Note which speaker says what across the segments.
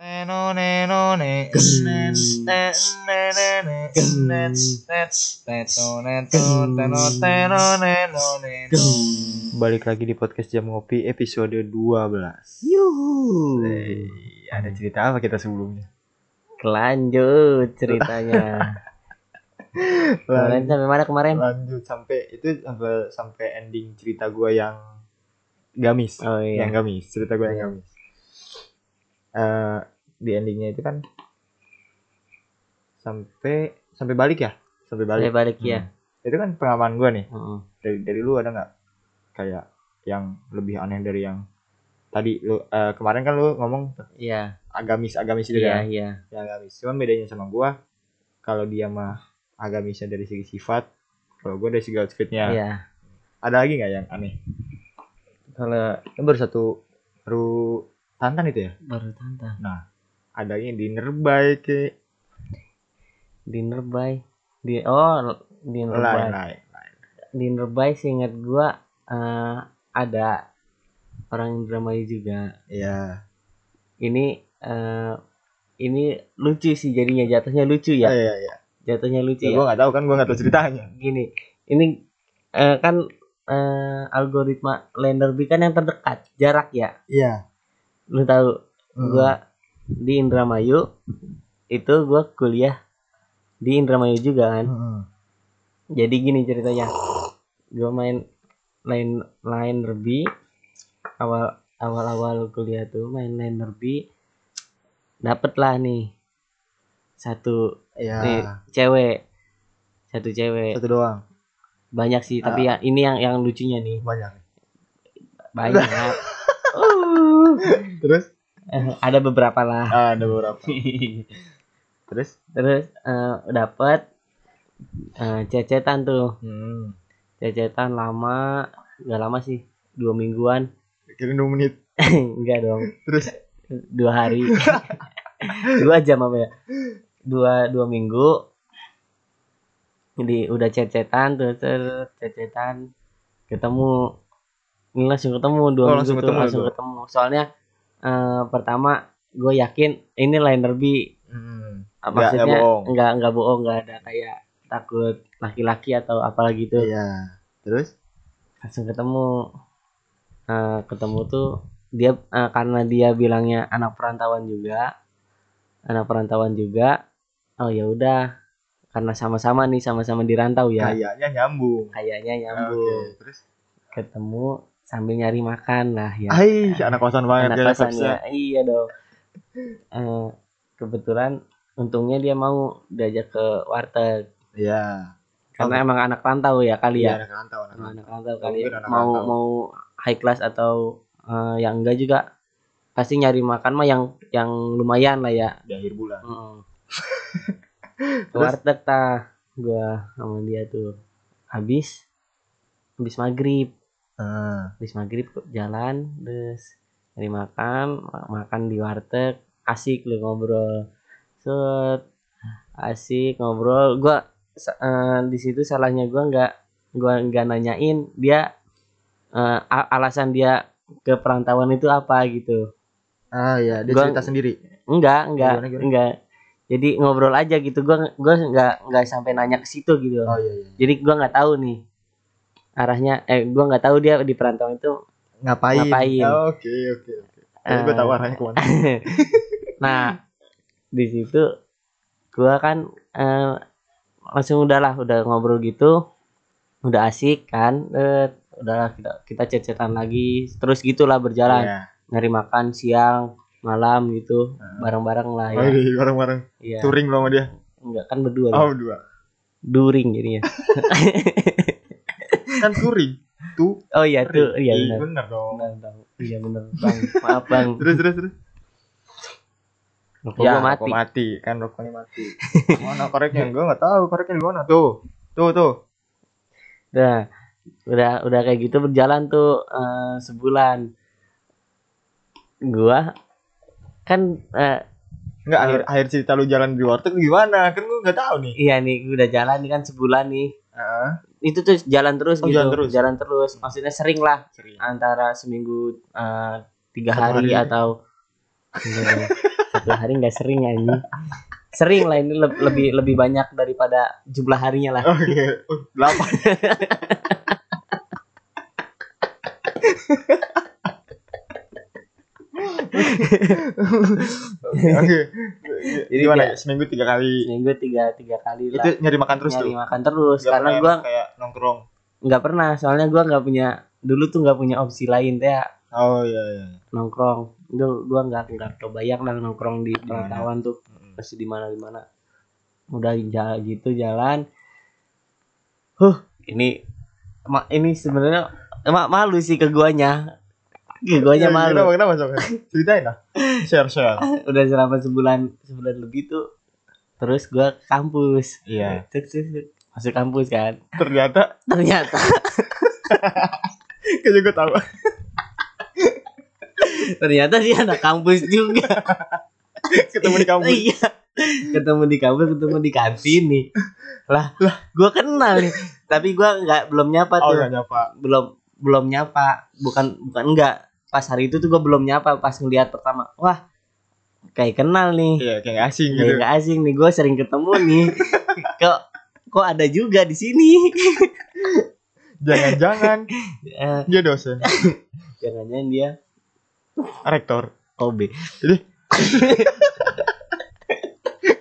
Speaker 1: none none
Speaker 2: Kes.
Speaker 1: Nen, nen, nen, nen, nen.
Speaker 2: Kes.
Speaker 1: Nen, nen, neto, neto, teno, teno, neno, neno.
Speaker 3: Balik lagi di podcast Jam Ngopi episode 12
Speaker 2: Yuhu.
Speaker 3: Eh, Ada cerita apa kita sebelumnya?
Speaker 2: Lanjut ceritanya. kemarin sampai mana kemarin?
Speaker 3: Nah, Lanjut sampai itu sampai sampai ending cerita gua yang gamis
Speaker 2: Oh
Speaker 3: yang
Speaker 2: iya.
Speaker 3: gamis cerita gue yang gamis Eh, di endingnya itu kan sampai sampai balik ya sampai balik
Speaker 2: Balik balik ya.
Speaker 3: Hmm. itu kan pengalaman gue nih
Speaker 2: Heeh.
Speaker 3: dari dari lu ada nggak kayak yang lebih aneh dari yang tadi lu eh, kemarin kan lu ngomong
Speaker 2: Iya.
Speaker 3: agamis agamis itu
Speaker 2: Iya
Speaker 3: kan
Speaker 2: iya.
Speaker 3: ya agamis cuman bedanya sama gue kalau dia mah agamisnya dari segi sifat kalau gue dari segi outfitnya
Speaker 2: Iya.
Speaker 3: ada lagi nggak yang aneh
Speaker 2: Kalau
Speaker 3: kan baru satu baru tantan itu ya
Speaker 2: baru tante
Speaker 3: adanya dinner by ke
Speaker 2: dinner by di oh dinner by
Speaker 3: lain-lain
Speaker 2: dinner by seingat gua eh, ada orang Indramayu juga.
Speaker 3: ya
Speaker 2: Ini eh, ini lucu sih jadinya jatuhnya lucu
Speaker 3: ya
Speaker 2: ya.
Speaker 3: ya ya
Speaker 2: Jatuhnya lucu
Speaker 3: ya
Speaker 2: ya.
Speaker 3: gue nggak tahu kan gue nggak tahu ceritanya
Speaker 2: gini ini eh, kan eh, algoritma Lenderby kan yang terdekat jarak ya
Speaker 3: iya
Speaker 2: lu tahu
Speaker 3: Hmm.
Speaker 2: gua di Indramayu itu gua kuliah di Indramayu juga kan jadi gini ceritanya gua main lain lain derby awal awal awal kuliah tuh main lain derby dapet lah nih satu
Speaker 3: ya
Speaker 2: nih, cewek satu cewek
Speaker 3: satu doang
Speaker 2: banyak sih tapi ya- ini yang yang lucunya nih
Speaker 3: banyak
Speaker 2: banyak
Speaker 3: terus
Speaker 2: Nah. Eh, ada beberapa lah
Speaker 3: ah, ada beberapa terus
Speaker 2: terus eh, dapet eh, cecetan tuh
Speaker 3: hmm.
Speaker 2: cecetan lama nggak lama sih dua mingguan
Speaker 3: kira dua menit
Speaker 2: enggak dong
Speaker 3: terus
Speaker 2: dua hari dua jam apa ya dua dua minggu jadi udah cecetan terus terus cecetan ketemu ini langsung ketemu
Speaker 3: Oh,
Speaker 2: dua minggu
Speaker 3: langsung
Speaker 2: tuh,
Speaker 3: ketemu ya,
Speaker 2: langsung
Speaker 3: Bro?
Speaker 2: ketemu soalnya eh, pertama gue yakin ini liner B
Speaker 3: hmm. Nggak-
Speaker 2: maksudnya
Speaker 3: nggak bohong.
Speaker 2: nggak nggak bohong nggak ada kayak takut laki-laki atau apa gitu
Speaker 3: iya terus
Speaker 2: langsung ketemu Eh, ketemu tuh dia eh, karena dia bilangnya anak perantauan juga anak perantauan juga oh ya udah karena sama-sama nih sama-sama di rantau ya
Speaker 3: kayaknya nyambung
Speaker 2: kayaknya
Speaker 3: Oke,
Speaker 2: nyambung
Speaker 3: terus
Speaker 2: ketemu sambil nyari makan lah ya
Speaker 3: Hai, anak kosan banget
Speaker 2: anak
Speaker 3: ya,
Speaker 2: kosan
Speaker 3: vibes-nya.
Speaker 2: ya iya dong Eh, kebetulan untungnya dia mau diajak ke warteg
Speaker 3: Iya.
Speaker 2: karena emang anak rantau ya kali
Speaker 3: Iya, anak
Speaker 2: ya
Speaker 3: rantau, anak rantau.
Speaker 2: anak rantau kali ya.
Speaker 3: Mungkin anak
Speaker 2: mau
Speaker 3: rantau.
Speaker 2: mau high class atau eh, yang enggak juga pasti nyari makan mah yang yang lumayan lah ya
Speaker 3: Di akhir bulan.
Speaker 2: Ke warteg tah gua sama dia tuh habis habis maghrib
Speaker 3: Heeh.
Speaker 2: habis maghrib ke- jalan terus nyari makan ma- makan di warteg asik lu ngobrol set asik ngobrol gua sa- eh, di situ salahnya gua nggak gua nggak nanyain dia eh, a- alasan dia ke perantauan itu apa gitu
Speaker 3: Ah, iya, dia
Speaker 2: Gua-
Speaker 3: cerita sendiri.
Speaker 2: enggak enggak
Speaker 3: Gimana, gimana?
Speaker 2: enggak jadi ngobrol aja gitu gua gua nggak nggak sampai nanya ke situ gitu
Speaker 3: Oh iya, iya.
Speaker 2: jadi gua nggak tahu nih arahnya eh gua nggak tahu dia di perantauan itu
Speaker 3: Ngapain?
Speaker 2: Ngapain. Ah.
Speaker 3: Oh, Oke, oke, oke. Tapi gue tahu arahnya kemana.
Speaker 2: nah di situ gua kan eh, langsung udahlah udah ngobrol gitu udah asik kan eh, udahlah kita kita cecetan lagi terus gitulah berjalan
Speaker 3: Iya.
Speaker 2: nyari makan siang malam gitu bareng-bareng lah ya
Speaker 3: Oh, iya, bareng-bareng.
Speaker 2: iya
Speaker 3: Touring lo sama dia.
Speaker 2: enggak kan berdua ya.
Speaker 3: Oh, dua.
Speaker 2: during jadinya
Speaker 3: Kan touring. Tuh.
Speaker 2: oh iya tuh iya
Speaker 3: Ih, bener
Speaker 2: benar
Speaker 3: dong.
Speaker 2: Benar, Bang. iya benar bang maaf bang
Speaker 3: Terus, terus, terus.
Speaker 2: Rokok
Speaker 3: Ya,
Speaker 2: gua mati
Speaker 3: rokok mati. Kan rokoknya mati. mana koreknya? Gue gak tahu koreknya di mana. Tuh. Tuh, tuh.
Speaker 2: Nah, udah udah kayak gitu berjalan tuh eh, sebulan. Gua kan eh,
Speaker 3: Enggak, akhir,
Speaker 2: Nah.
Speaker 3: akhir cerita lu jalan di warteg gimana? Kan gue gak tahu nih.
Speaker 2: iya nih gua udah jalan nih kan sebulan nih.
Speaker 3: Heeh.
Speaker 2: Itu tuh jalan terus
Speaker 3: Oh,
Speaker 2: gitu,
Speaker 3: jalan terus.
Speaker 2: terus. Maksudnya sering lah antara seminggu eh, tiga
Speaker 3: Satu
Speaker 2: hari,
Speaker 3: hari. Iya.
Speaker 2: atau Enggak dong. satu hari nggak sering anjing sering lah ini leb- lebih lebih banyak daripada jumlah harinya lah
Speaker 3: Oke, uh, delapan. Oke, oke.
Speaker 2: Jadi
Speaker 3: gimana?
Speaker 2: kayak-
Speaker 3: Seminggu tiga kali.
Speaker 2: seminggu tiga tiga kali
Speaker 3: Itu
Speaker 2: lah
Speaker 3: nyari makan terus
Speaker 2: nyari
Speaker 3: tuh.
Speaker 2: makan terus
Speaker 3: Nggak
Speaker 2: karena
Speaker 3: pernah
Speaker 2: gua
Speaker 3: kayak nongkrong.
Speaker 2: nggak pernah soalnya gua nggak punya dulu tuh nggak punya opsi lain teh
Speaker 3: Oh iya iya.
Speaker 2: nongkrong itu gua nggak nggak kebayang lah nongkrong di
Speaker 3: Gimana?
Speaker 2: perantauan tuh terus di mana di mana udah jalan gitu jalan huh ini ma- ini sebenarnya emak malu sih ke guanya ke guanya
Speaker 3: Iya,
Speaker 2: malu
Speaker 3: Kenapa kenapa Sob? Ceritain lah. Share share.
Speaker 2: udah selama sebulan sebulan lebih tuh terus gua ke kampus
Speaker 3: Iya.
Speaker 2: Cuk, cuk, cuk. masuk kampus kan
Speaker 3: Ternyata
Speaker 2: ternyata
Speaker 3: kayaknya gue tahu.
Speaker 2: ternyata dia anak kampus juga
Speaker 3: Ketemu di kampus.
Speaker 2: iya ketemu di kampus ketemu di kantin nih lah lah gue kenal nih tapi gua nggak belum nyapa
Speaker 3: Oh
Speaker 2: tuh
Speaker 3: nggak nyapa.
Speaker 2: belum belum nyapa bukan bukan enggak pas hari itu tuh gue belum nyapa pas ngeliat pertama wah kayak kenal nih
Speaker 3: Iya, kayak nggak asing
Speaker 2: kayak
Speaker 3: gitu.
Speaker 2: nggak asing nih gue sering ketemu nih kok kok ada juga di sini
Speaker 3: Jangan-jangan
Speaker 2: Eh,
Speaker 3: dia dosen,
Speaker 2: jangan-jangan dia
Speaker 3: rektor.
Speaker 2: OB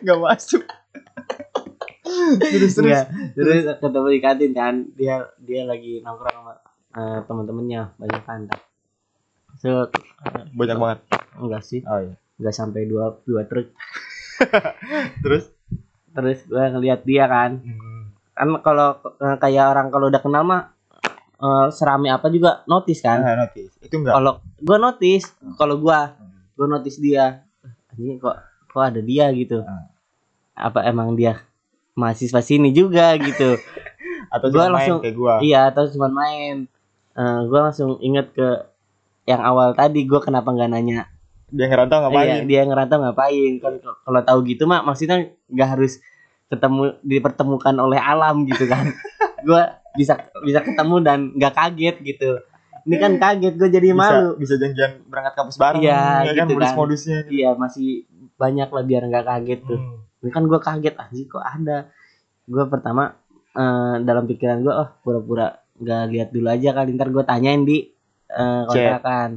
Speaker 3: Nggak masuk. Iya. Terus terus.
Speaker 2: Enggak, terus ketemu di kantin kan dia dia lagi nongkrong sama eh, teman-temannya banyak kan so
Speaker 3: Banyak banget.
Speaker 2: enggak sih
Speaker 3: Oh iya.
Speaker 2: enggak sampai dua dua truk
Speaker 3: Terus
Speaker 2: terus gue ngeliat dia kan
Speaker 3: Hmm.
Speaker 2: kan kalau eh, kayak orang kalau udah kenal mah eh, serame apa juga notice kan
Speaker 3: Nah, notice. Itu enggak.
Speaker 2: kalau gua notice
Speaker 3: Hmm.
Speaker 2: kalau gua gua notice dia ini kok kok ada dia gitu
Speaker 3: Hmm.
Speaker 2: apa emang dia mahasiswa sini juga gitu
Speaker 3: Atau
Speaker 2: Gua
Speaker 3: gua langsung
Speaker 2: langsung-
Speaker 3: kayak gua.
Speaker 2: iya atau cuma main Eh, gua langsung inget ke yang awal tadi gua kenapa nggak nanya
Speaker 3: Dia ngerantau
Speaker 2: Iya,
Speaker 3: ngapain?
Speaker 2: dia ngerantau ngapain kan kalau tahu gitu mah maksudnya nggak harus ketemu dipertemukan oleh alam gitu kan gua bisa bisa ketemu dan nggak kaget gitu ini kan kaget gue jadi
Speaker 3: Bisa,
Speaker 2: malu
Speaker 3: bisa janjian berangkat kampus bareng.
Speaker 2: Iya,
Speaker 3: ya kan
Speaker 2: gitu kan.
Speaker 3: modus-modusnya. gitu.
Speaker 2: iya masih banyak lah biar nggak kaget tuh
Speaker 3: Hmm.
Speaker 2: ini kan gue kaget anjing kok ada gue pertama eh, dalam pikiran gue oh pura-pura nggak lihat dulu aja kali ntar gue tanyain di eh,
Speaker 3: Chat.
Speaker 2: kontrakan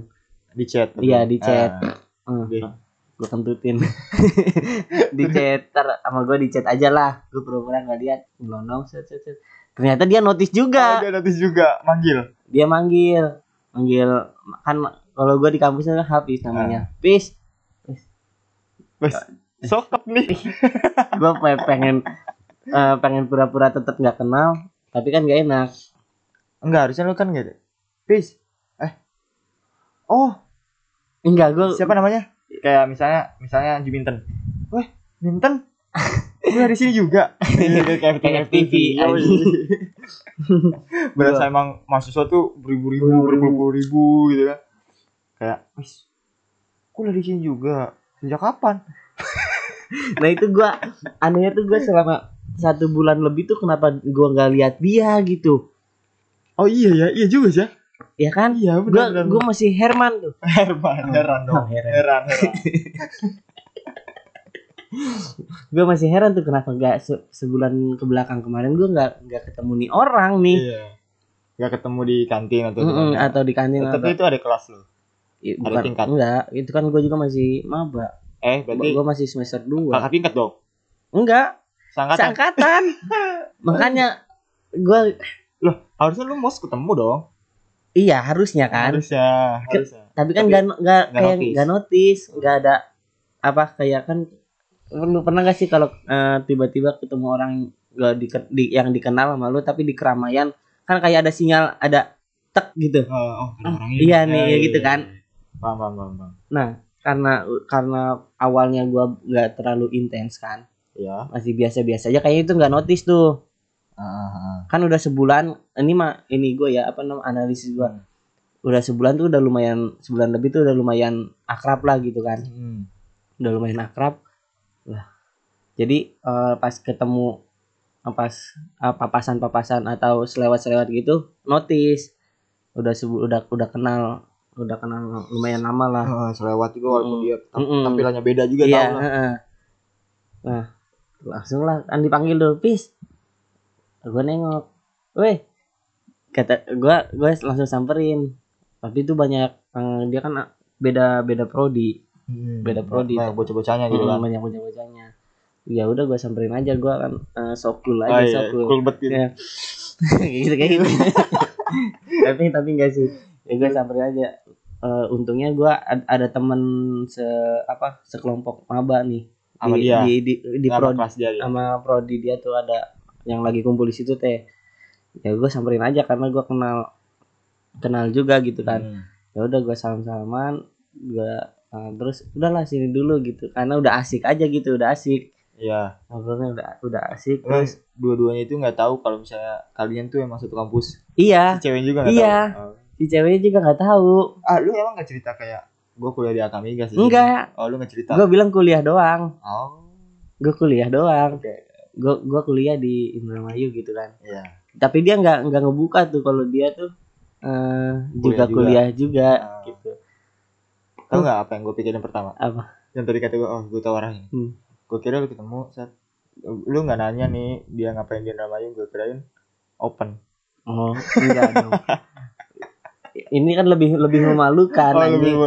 Speaker 3: Di chat.
Speaker 2: Iya, di chat.
Speaker 3: Ah,
Speaker 2: Hmm.
Speaker 3: oke.
Speaker 2: gue kentutin di chat ter sama gue di chat aja lah gue pura-pura nggak lihat ngelonong set set set ternyata dia notice
Speaker 3: Oh,
Speaker 2: juga
Speaker 3: dia notice juga manggil.
Speaker 2: dia manggil manggil kan kalau gue di kampusnya kan Hafiz
Speaker 3: Ah.
Speaker 2: namanya Hafiz
Speaker 3: Wes. Sokap nih.
Speaker 2: gue pengen eh, pengen pura-pura tetap nggak kenal tapi kan gak enak
Speaker 3: Enggak, harusnya lu kan gitu. Peace. Eh. Oh,
Speaker 2: enggak gue
Speaker 3: siapa namanya? Kayak misalnya misalnya Juminten. Weh, Minten. Lu dari sini juga. Iya, kayak
Speaker 2: Kayak
Speaker 3: FTV.
Speaker 2: FTV,
Speaker 3: Yoi.
Speaker 2: anjing.
Speaker 3: Berasa emang mahasiswa tuh beribu-ribu, berpuluh-puluh ribu gitu kan. Kayak, wis. Kok lu dari sini juga? Sejak kapan?
Speaker 2: nah itu gue anehnya tuh gue selama satu bulan lebih tuh kenapa gue nggak lihat dia gitu
Speaker 3: Oh iya ya, iya juga sih. ya.
Speaker 2: ya kan
Speaker 3: Iya,
Speaker 2: gue
Speaker 3: benar.
Speaker 2: gue masih Herman tuh
Speaker 3: Herman, heran dong.
Speaker 2: Oh, heran.
Speaker 3: Heran, heran.
Speaker 2: gue masih heran tuh kenapa gak se- sebulan ke belakang kemarin gue nggak nggak ketemu nih orang nih
Speaker 3: Iya. Gak ketemu di kantin atau di
Speaker 2: Mm-mm,
Speaker 3: mana.
Speaker 2: atau di kantin
Speaker 3: Oh, Tapi
Speaker 2: atau
Speaker 3: itu ada kelas lu.
Speaker 2: Ih,
Speaker 3: ada
Speaker 2: bukan
Speaker 3: tingkat.
Speaker 2: enggak itu kan gue juga masih maba
Speaker 3: Eh, berarti
Speaker 2: gue masih semester 2
Speaker 3: kakak tingkat dong.
Speaker 2: enggak
Speaker 3: Sangkatan.
Speaker 2: seangkatan makanya gue
Speaker 3: Harusnya lu mos ketemu dong.
Speaker 2: iya harusnya kan
Speaker 3: Harusnya,
Speaker 2: Ke-
Speaker 3: harusnya.
Speaker 2: tapi kan
Speaker 3: tapi
Speaker 2: nggak nggak
Speaker 3: nggak
Speaker 2: kayak
Speaker 3: notice.
Speaker 2: nggak notice nggak ada apa kayak kan lu pernah gak sih kalau eh, tiba-tiba ketemu orang gak dike- di, yang dikenal sama lu tapi di keramaian kan kayak ada sinyal ada tek gitu
Speaker 3: Oh, oh, ada orangnya.
Speaker 2: iya
Speaker 3: Eh,
Speaker 2: nih, ya gitu kan.
Speaker 3: Paham, paham, paham, paham.
Speaker 2: karena karena awalnya gua nggak terlalu intens kan
Speaker 3: Iya.
Speaker 2: masih biasa-biasa aja kayaknya itu nggak notice tuh
Speaker 3: Ah, ah, ah.
Speaker 2: kan udah sebulan ini mah ini gue ya apa namanya analisis gua udah sebulan tuh udah lumayan sebulan lebih tuh udah lumayan akrab lah gitu kan
Speaker 3: Hmm.
Speaker 2: udah lumayan akrab lah jadi eh, pas ketemu eh, pas eh, papasan-papasan atau selewat-selewat gitu notice udah sebu udah udah kenal udah kenal lumayan lama lah
Speaker 3: Heeh, selewat Ah, juga walaupun
Speaker 2: Mm.
Speaker 3: dia tam-
Speaker 2: Mm-mm.
Speaker 3: tampilannya beda juga
Speaker 2: iya
Speaker 3: tau lah.
Speaker 2: heeh. nah langsung lah kan dipanggil dulu pis gue nengok weh kata gua gue langsung samperin tapi itu banyak eh, dia kan eh, beda beda prodi
Speaker 3: Mm.
Speaker 2: Beda prodi.
Speaker 3: Banyak bocah-bocahnya gitu kan.
Speaker 2: Hmm, banyak bocah bocahnya ya udah gue samperin aja gue kan eh, so cool
Speaker 3: Ah,
Speaker 2: aja
Speaker 3: iya,
Speaker 2: so cool
Speaker 3: cool banget gitu.
Speaker 2: ya kayak gitu kayak gitu tapi tapi enggak sih ya gue samperin aja Eh, untungnya gue ada temen se apa sekelompok maba nih
Speaker 3: Sama
Speaker 2: di,
Speaker 3: dia.
Speaker 2: di di di
Speaker 3: Sama
Speaker 2: prodi
Speaker 3: kelas dia gitu.
Speaker 2: sama prodi dia tuh ada yang lagi kumpul di situ teh ya gue samperin aja karena gue kenal kenal juga gitu kan
Speaker 3: Mm.
Speaker 2: ya udah gue salam salaman gue uh, terus udahlah sini dulu gitu karena udah asik aja gitu udah asik
Speaker 3: Iya.
Speaker 2: ngobrolnya udah udah asik
Speaker 3: Terus
Speaker 2: terus
Speaker 3: dua-duanya itu nggak tahu kalau misalnya kalian tuh emang satu kampus. Si
Speaker 2: iya
Speaker 3: cewek juga nggak
Speaker 2: Iya.
Speaker 3: tahu. Oh.
Speaker 2: si ceweknya juga nggak tahu
Speaker 3: Ah, lu emang nggak cerita kayak gue kuliah di Akamiga sih.
Speaker 2: enggak
Speaker 3: Oh, lu nggak cerita.
Speaker 2: gue bilang kuliah doang
Speaker 3: Oh.
Speaker 2: gue kuliah doang
Speaker 3: Oke.
Speaker 2: gue gue kuliah di Indramayu gitu kan
Speaker 3: Iya.
Speaker 2: tapi dia nggak nggak ngebuka tuh kalau dia tuh eh
Speaker 3: Kuliah
Speaker 2: juga
Speaker 3: juga.
Speaker 2: kuliah juga
Speaker 3: Ah.
Speaker 2: gitu
Speaker 3: Tahu Eh, nggak apa yang gue pikirin pertama?
Speaker 2: Apa?
Speaker 3: Yang tadi kata gue, oh gue tahu arahnya.
Speaker 2: Hmm.
Speaker 3: Gue kira lu ketemu saat lu nggak nanya nih dia ngapain di Indramayu gue kirain open
Speaker 2: oh enggak dong ini kan lebih lebih memalukan
Speaker 3: Oh,
Speaker 2: anjing.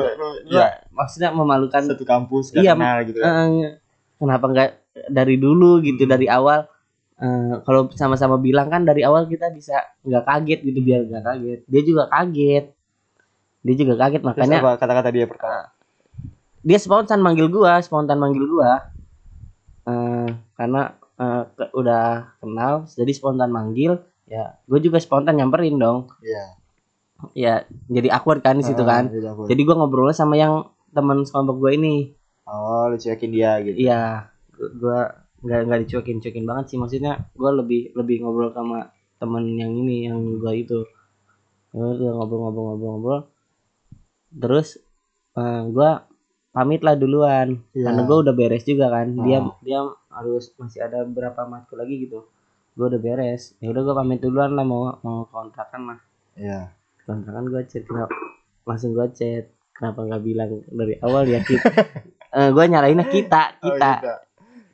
Speaker 2: Iya,
Speaker 3: ya,
Speaker 2: maksudnya memalukan
Speaker 3: satu kampus
Speaker 2: Iya,
Speaker 3: iya, kenal gitu kan.
Speaker 2: Eh, kenapa nggak dari dulu gitu
Speaker 3: Hmm.
Speaker 2: dari awal Eh, kalau sama-sama bilang kan dari awal kita bisa nggak kaget gitu biar nggak kaget dia juga kaget dia juga kaget
Speaker 3: Terus
Speaker 2: makanya
Speaker 3: apa kata-kata dia pertama
Speaker 2: dia spontan manggil gua spontan manggil gua Eh, karena eh, ke- udah kenal jadi spontan manggil ya gue juga spontan nyamperin dong
Speaker 3: iya
Speaker 2: ya jadi awkward kan di situ
Speaker 3: Ah,
Speaker 2: kan
Speaker 3: iya, aku-
Speaker 2: jadi gua ngobrol sama yang teman sekelompok gue ini
Speaker 3: oh lu cuekin dia gitu
Speaker 2: Iya, gu- gua nggak nggak dicuekin cuekin banget sih maksudnya gua lebih lebih ngobrol sama temen yang ini yang gua itu Ya udah ngobrol-ngobrol-ngobrol-ngobrol terus eh, gua pamit lah duluan
Speaker 3: Iya.
Speaker 2: karena gua udah beres juga kan dia
Speaker 3: Ah.
Speaker 2: dia harus masih ada berapa matkul lagi gitu gua udah beres ya udah gua pamit duluan lah mau mau kontrakan lah
Speaker 3: iya
Speaker 2: kontrakan gue chat kenapa langsung gue chat kenapa nggak bilang dari awal ya Eh, kita gue nyalainnya kita
Speaker 3: Oh,
Speaker 2: kita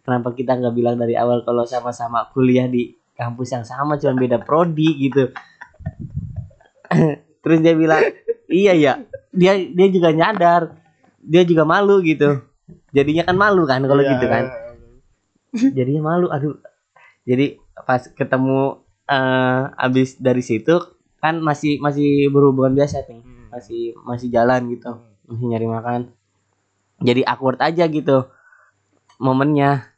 Speaker 2: kenapa kita nggak bilang dari awal kalau sama-sama kuliah di kampus yang sama cuma beda prodi gitu terus dia bilang iya ya dia dia juga nyadar dia juga malu gitu jadinya kan malu kan kalau
Speaker 3: Iya,
Speaker 2: gitu kan
Speaker 3: iya, iya.
Speaker 2: jadinya malu aduh jadi pas ketemu eh abis dari situ kan masih masih berhubungan biasa nih
Speaker 3: Hmm.
Speaker 2: masih masih jalan gitu masih nyari makan jadi awkward aja gitu momennya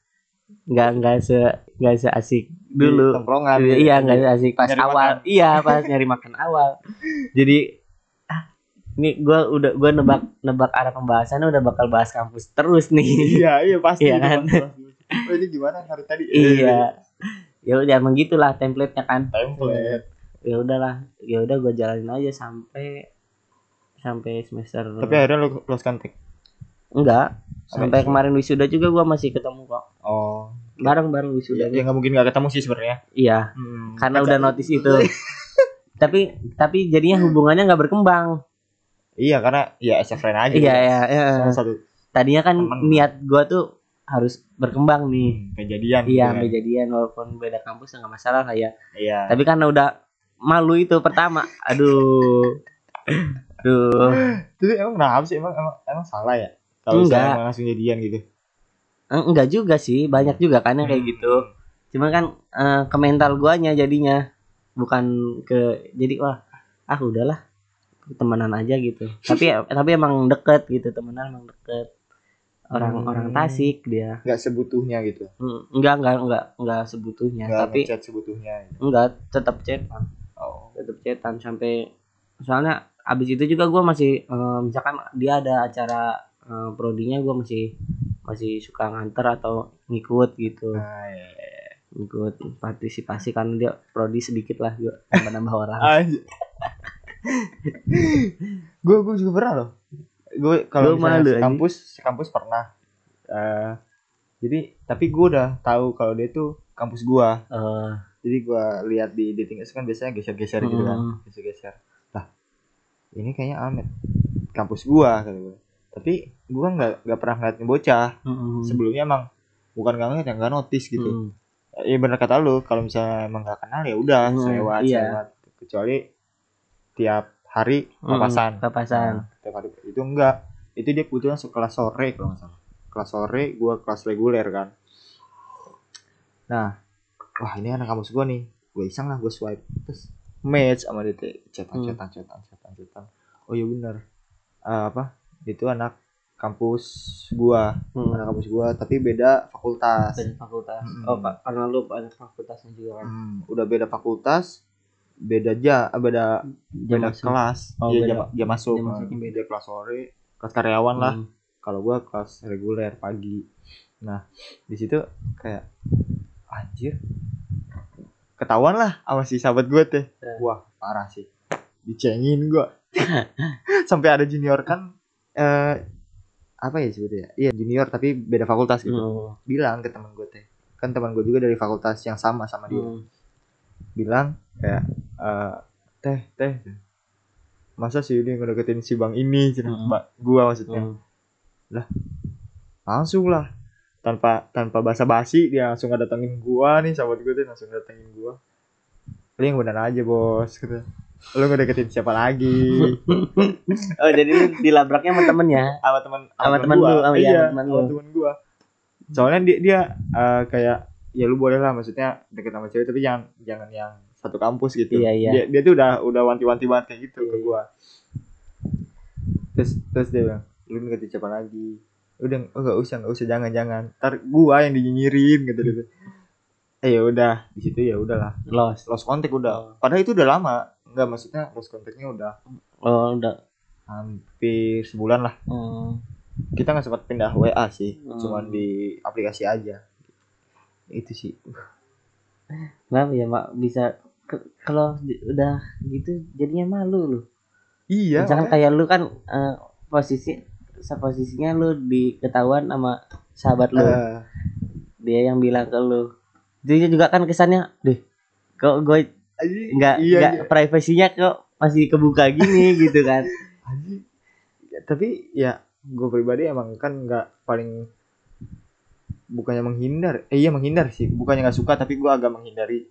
Speaker 2: nggak nggak se nggak seasik
Speaker 3: Di
Speaker 2: dulu
Speaker 3: tongkrongan gitu.
Speaker 2: iya nggak asik pas
Speaker 3: Nyari
Speaker 2: awal iya pas nyari makan awal jadi ah, ini gue udah gue nebak nebak arah pembahasannya udah bakal bahas kampus terus nih
Speaker 3: iya iya pasti
Speaker 2: Iya
Speaker 3: itu
Speaker 2: kan?
Speaker 3: pasti, pasti. oh ini gimana hari tadi
Speaker 2: iya ya udah emang gitulah template nya kan
Speaker 3: template
Speaker 2: ya udahlah ya udah gue jalanin aja sampai sampai semester
Speaker 3: tapi akhirnya lu lost contact
Speaker 2: enggak sampai
Speaker 3: Sampai-
Speaker 2: kemarin wisuda juga gue masih ketemu kok
Speaker 3: oh
Speaker 2: bareng bareng
Speaker 3: ya
Speaker 2: wisuda
Speaker 3: ya nggak mungkin nggak ketemu sih sebenarnya
Speaker 2: iya karena udah notice itu tapi tapi jadinya hubungannya nggak berkembang
Speaker 3: iya karena ya as a friend aja
Speaker 2: iya
Speaker 3: gitu.
Speaker 2: iya iya.
Speaker 3: Salah satu
Speaker 2: tadinya kan
Speaker 3: Temen.
Speaker 2: niat gue tuh harus berkembang nih
Speaker 3: kejadian
Speaker 2: iya
Speaker 3: gitu kan.
Speaker 2: sampai jadian walaupun beda kampus ya nggak masalah lah ya
Speaker 3: iya
Speaker 2: tapi karena udah malu itu pertama aduh aduh
Speaker 3: Jadi emang kenapa sih emang emang, emang salah ya? Kalau
Speaker 2: Enggak.
Speaker 3: misalnya emang langsung jadian gitu. Hmm.
Speaker 2: Eh, enggak juga sih banyak juga kan yang kayak gitu cuman kan eh, ke mental guanya jadinya bukan ke jadi wah ah udahlah temenan aja gitu tapi tapi emang deket gitu temenan emang deket orang
Speaker 3: Hmm.
Speaker 2: orang Tasik dia
Speaker 3: Enggak sebutuhnya gitu.
Speaker 2: Mm, enggak enggak enggak enggak sebutuhnya
Speaker 3: Enggak
Speaker 2: tapi
Speaker 3: ngechat sebutuhnya. Gitu.
Speaker 2: enggak tetap cetan
Speaker 3: Oh.
Speaker 2: tetap cetan sampai soalnya abis itu juga gua masih eh, misalkan dia ada acara eh, prodinya gua masih masih suka nganter atau ngikut gitu
Speaker 3: Nah, iya, iya, iya.
Speaker 2: ikut partisipasi karena dia prodi sedikit lah juga tambah nambah orang
Speaker 3: Anj- Gue gue juga pernah loh. Gue
Speaker 2: Lu
Speaker 3: kalau
Speaker 2: malu,
Speaker 3: misalnya
Speaker 2: anjing.
Speaker 3: kampus kampus pernah. Eh, jadi tapi gue udah tahu kalau dia tuh kampus gua.
Speaker 2: Eh,
Speaker 3: Jadi gua lihat di dating apps kan biasanya geser-geser gitu kan.
Speaker 2: Mm.
Speaker 3: Geser-geser. Lah, ini kayaknya Ahmed. kampus gua kata gua. Tapi gua nggak nggak pernah ngeliatin bocah.
Speaker 2: Hmm.
Speaker 3: Sebelumnya emang bukan nggak ngeliat yang nggak notice gitu. Iya bener kata lu kalau misalnya emang nggak kenal ya udah
Speaker 2: Hmm,
Speaker 3: selewat
Speaker 2: iya.
Speaker 3: selewat kecuali tiap hari papasan.
Speaker 2: Hmm, papasan
Speaker 3: Nah, tiap hari itu enggak. Itu dia kebetulan sekelas sore kalau nggak salah. Kelas sore gua kelas reguler kan. Nah, wah ini anak kampus gua nih. Gue iseng lah gue swipe terus match sama dia tuh. cetan
Speaker 2: Hmm.
Speaker 3: cetan cetan cetan cetan. Oh iya bener. Eh, apa? Itu anak kampus gua,
Speaker 2: Hmm.
Speaker 3: anak kampus gua tapi beda fakultas.
Speaker 2: Dari fakultas
Speaker 3: Mm-mm.
Speaker 2: oh pak karena lu ada fakultasnya juga kan
Speaker 3: Hmm, udah beda fakultas, beda aja, beda
Speaker 2: Jam
Speaker 3: beda
Speaker 2: Iya, masuk.
Speaker 3: kelas.
Speaker 2: Oh,
Speaker 3: Iya,
Speaker 2: beda-
Speaker 3: jam, jam masuk.
Speaker 2: jam
Speaker 3: kan.
Speaker 2: masuknya
Speaker 3: beda kelas sore, kelas karyawan lah.
Speaker 2: Hmm.
Speaker 3: Kalau gua kelas reguler pagi. Nah, di situ kayak anjir. Ketahuan lah sama si sahabat gue teh.
Speaker 2: Eh.
Speaker 3: Wah, parah sih. Dicengin gua. Sampai ada junior kan eh apa ya sebetulnya? Iya, junior tapi beda fakultas gitu.
Speaker 2: Hmm.
Speaker 3: Bilang ke teman gue teh. Kan teman gue juga dari fakultas yang sama sama dia
Speaker 2: Hmm.
Speaker 3: bilang kayak eh, teh teh masa si ini ngedeketin si bang ini cina,
Speaker 2: Hmm.
Speaker 3: Mbak gua maksudnya
Speaker 2: Hmm.
Speaker 3: langsung lah tanpa tanpa basa basi dia langsung ngedatengin gua nih sahabat gua tuh langsung ngedatengin gua lu yang benar aja bos gitu lu ngedeketin siapa lagi
Speaker 2: oh jadi lu dilabraknya sama ya? temennya
Speaker 3: sama teman
Speaker 2: Sama temen
Speaker 3: gua.
Speaker 2: lu, sama- iya,
Speaker 3: iya
Speaker 2: sama temen
Speaker 3: sama
Speaker 2: lu.
Speaker 3: temen gua soalnya dia dia eh, kayak ya lu boleh lah maksudnya deket sama cewek tapi jangan jangan yang satu kampus gitu
Speaker 2: Iya, iya.
Speaker 3: dia dia tuh udah udah wanti-wanti banget kayak gitu ke gua terus terus dia bilang lu ngerti siapa lagi udah oh, nggak usah nggak usah jangan jangan ntar gua yang dinyinyirin gitu gitu eh ya udah di situ ya udahlah
Speaker 2: los
Speaker 3: lost kontak udah padahal itu udah lama nggak maksudnya lost kontaknya udah
Speaker 2: oh udah
Speaker 3: hampir sebulan lah
Speaker 2: Hmm.
Speaker 3: kita nggak sempat pindah WA sih,
Speaker 2: Hmm.
Speaker 3: cuman di aplikasi aja. Itu sih.
Speaker 2: kenapa ya mak bisa ke- kalau di- udah gitu jadinya malu lu
Speaker 3: Iya.
Speaker 2: misalkan kayak lu kan eh, posisi posisinya lu diketahuan sama sahabat lu
Speaker 3: Eh,
Speaker 2: dia yang bilang ke lu dia juga kan kesannya deh kok gue
Speaker 3: Aji,
Speaker 2: nggak
Speaker 3: iya,
Speaker 2: nggak
Speaker 3: iya.
Speaker 2: privasinya kok masih kebuka gini gitu kan
Speaker 3: Aji. Ya, tapi ya gue pribadi emang kan nggak paling bukannya menghindar, eh iya menghindar sih, bukannya nggak suka tapi gue agak menghindari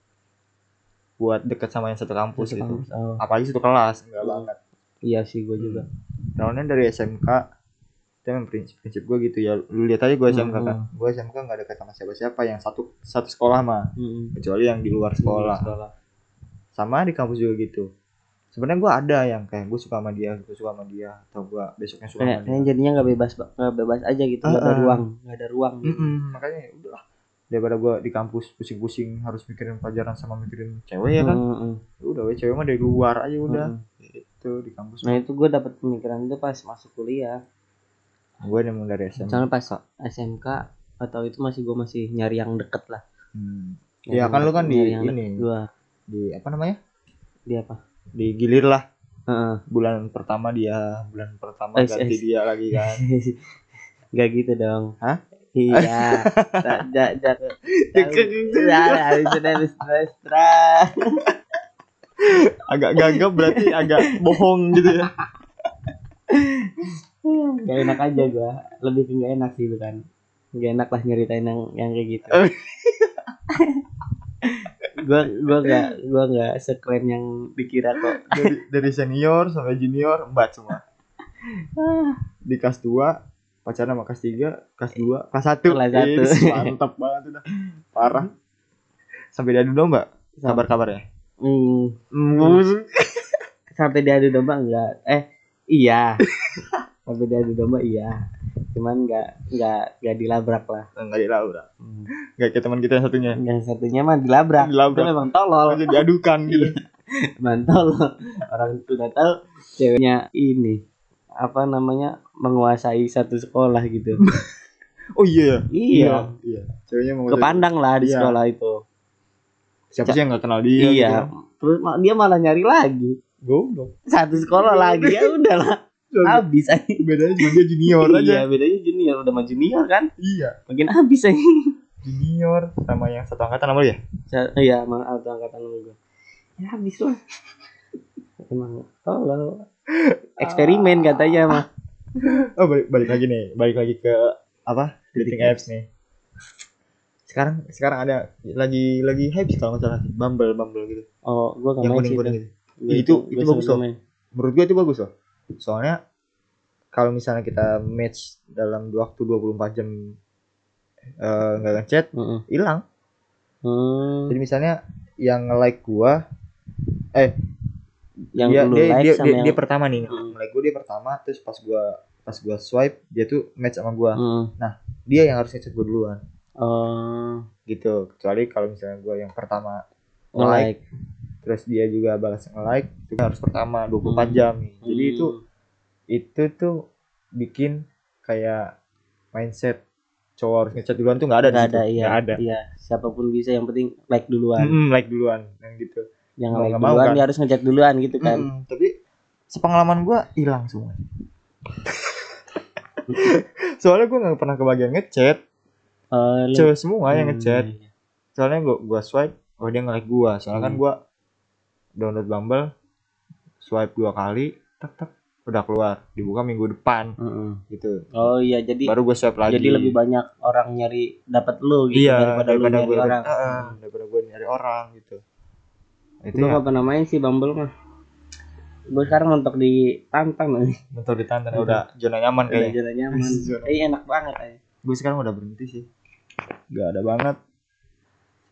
Speaker 3: buat deket sama yang satu kampus gitu.
Speaker 2: Oh,
Speaker 3: Apalagi satu kelas, enggak
Speaker 2: Hmm.
Speaker 3: banget.
Speaker 2: iya sih gue juga
Speaker 3: Soalnya dari SMK itu emang prinsip prinsip gue gitu ya. Lu lihat aja gue SMK kan, gue SMK nggak deket sama siapa-siapa yang satu satu sekolah mah,
Speaker 2: Mm-mm. Iya,
Speaker 3: kecuali yang di luar Hmm. sekolah. sama di kampus juga gitu sebenarnya gue ada yang kayak gue suka sama dia gue suka sama dia atau gue besoknya suka
Speaker 2: kayak
Speaker 3: sama
Speaker 2: kayak
Speaker 3: dia
Speaker 2: jadinya nggak bebas nggak bebas aja gitu nggak ada
Speaker 3: Uh-uh.
Speaker 2: ruang nggak ada ruang gitu.
Speaker 3: Mm-mm, makanya ya udahlah daripada gue di kampus pusing-pusing harus mikirin pelajaran sama mikirin cewek ya kan
Speaker 2: Mm-mm.
Speaker 3: udah we, cewek mah dari luar aja udah
Speaker 2: Mm-mm.
Speaker 3: itu di kampus
Speaker 2: Mm. nah itu gue dapat pemikiran itu pas masuk kuliah
Speaker 3: gue emang dari SMA
Speaker 2: Soalnya pas SMK atau itu masih gue masih nyari yang deket lah.
Speaker 3: Hmm.
Speaker 2: Nyari
Speaker 3: Iya, kan
Speaker 2: yang-
Speaker 3: lu kan di
Speaker 2: nyari yang
Speaker 3: ini.
Speaker 2: deket Gua
Speaker 3: di apa namanya
Speaker 2: di apa?
Speaker 3: digilir lah
Speaker 2: Heeh.
Speaker 3: bulan pertama dia bulan pertama
Speaker 2: Eh,
Speaker 3: ganti
Speaker 2: eh.
Speaker 3: dia lagi kan
Speaker 2: Gak gitu dong.
Speaker 3: Hah?
Speaker 2: Iya. Ja- ja- ja-
Speaker 3: Deket gitu.
Speaker 2: Ja- Nah, habis itu habis terus, terus.
Speaker 3: agak gagap berarti agak bohong gitu ya
Speaker 2: Gak enak aja gua. Lebih ke gak enak sih bukan. Gak enak lah nyeritain yang yang kayak gitu.
Speaker 3: Oh.
Speaker 2: gua gua gak gua gak sekeren yang dikira kok.
Speaker 3: dari, dari senior sampai junior empat semua di kelas 2 pacaran sama kelas 3 kelas 2 kelas 1
Speaker 2: Kelas satu.
Speaker 3: mantap banget udah parah sampai diadu domba kabar-kabar ya
Speaker 2: Hmm. sampai diadu domba enggak eh iya sampai diadu domba iya cuman enggak enggak enggak dilabrak lah Hmm.
Speaker 3: enggak di Laura enggak kayak teman kita yang satunya
Speaker 2: yang satunya mah dilabrak
Speaker 3: Dilabrak.
Speaker 2: itu memang tolol
Speaker 3: aja diadukan gitu
Speaker 2: Iya. memang tolol orang itu udah tahu ceweknya ini apa namanya menguasai satu sekolah gitu
Speaker 3: oh iya
Speaker 2: iya
Speaker 3: iya ceweknya mau
Speaker 2: kepandang lah di
Speaker 3: Iya.
Speaker 2: sekolah itu
Speaker 3: siapa sih yang enggak kenal dia
Speaker 2: iya
Speaker 3: gitu.
Speaker 2: terus ma- dia malah nyari lagi
Speaker 3: goblok
Speaker 2: satu sekolah lagi ya udahlah habis aja
Speaker 3: bedanya cuma dia junior aja
Speaker 2: iya bedanya junior udah sama junior kan
Speaker 3: iya
Speaker 2: makin habis aja
Speaker 3: junior sama yang satu angkatan sama lu ya
Speaker 2: Sa- Iya, emang atau angkatan lu gue. Ya habis lah. emang tolol. eksperimen katanya mah
Speaker 3: Oh balik, balik lagi nih, balik lagi ke apa? Dating apps nih. Sekarang sekarang ada lagi lagi hype sih kalau nggak salah Bumble Bumble gitu.
Speaker 2: oh gua nggak
Speaker 3: Yang
Speaker 2: main
Speaker 3: kuning
Speaker 2: sih
Speaker 3: kuning gitu.
Speaker 2: Gua
Speaker 3: Itu- itu
Speaker 2: gua
Speaker 3: bagus
Speaker 2: sebelum
Speaker 3: loh.
Speaker 2: main.
Speaker 3: Menurut gua itu bagus loh. Soalnya kalau misalnya kita match dalam waktu 24 jam eh, nggak ngechat,
Speaker 2: Heeh.
Speaker 3: hilang.
Speaker 2: Hmm,
Speaker 3: Jadi misalnya yang like gua eh
Speaker 2: yang
Speaker 3: dia
Speaker 2: lu
Speaker 3: dia,
Speaker 2: like
Speaker 3: dia,
Speaker 2: sama
Speaker 3: dia,
Speaker 2: yang
Speaker 3: dia pertama nih.
Speaker 2: Mm.
Speaker 3: Like gua dia pertama terus pas gua pas gua swipe dia tuh match sama gua.
Speaker 2: Heeh.
Speaker 3: Dia yang harus ngechat gua duluan
Speaker 2: Oh,
Speaker 3: gitu. Kecuali kalau misalnya gua yang pertama
Speaker 2: nge-like.
Speaker 3: terus dia juga balas nge-like itu kan harus pertama 24
Speaker 2: Hmm.
Speaker 3: jam. Jadi itu
Speaker 2: Hmm.
Speaker 3: itu tuh bikin kayak mindset cowok harus ngechat duluan tuh nggak ada di
Speaker 2: nggak
Speaker 3: situ.
Speaker 2: ada iya
Speaker 3: Nggak ada.
Speaker 2: iya siapapun bisa yang penting like duluan
Speaker 3: Mm-mm, like duluan yang gitu.
Speaker 2: yang
Speaker 3: Mau
Speaker 2: like
Speaker 3: nggak mau Hmm.
Speaker 2: duluan
Speaker 3: kan?
Speaker 2: dia harus ngejat duluan gitu kan
Speaker 3: Mm-mm, tapi sepengalaman gua hilang semua. Soalnya gua nggak pernah kebagian ngechat,
Speaker 2: Eh, lu-
Speaker 3: cewek semua yang
Speaker 2: Hmm,
Speaker 3: ngechat.
Speaker 2: iya.
Speaker 3: Soalnya gua gua swipe, oh dia nge-like gua. Soalnya kan
Speaker 2: Hmm.
Speaker 3: gua download Bumble, swipe dua kali, tek tek udah keluar, dibuka minggu depan
Speaker 2: Mm-mm.
Speaker 3: gitu.
Speaker 2: oh iya jadi
Speaker 3: Baru gua swipe lagi.
Speaker 2: jadi lebih banyak orang nyari dapat lu gitu
Speaker 3: iya,
Speaker 2: daripada, lu nyari
Speaker 3: gua,
Speaker 2: orang
Speaker 3: Heeh, daripada gua nyari orang gitu. Itu
Speaker 2: gua
Speaker 3: ya,
Speaker 2: nggak pernah main sih Bumble mah gua sekarang mentok di Tantan nih
Speaker 3: mentor di tantan udah zona nyaman
Speaker 2: udah
Speaker 3: kayaknya.
Speaker 2: jalan nyaman
Speaker 3: Zona.
Speaker 2: eh enak banget ay.
Speaker 3: Gue sekarang udah berhenti sih. Gak ada banget.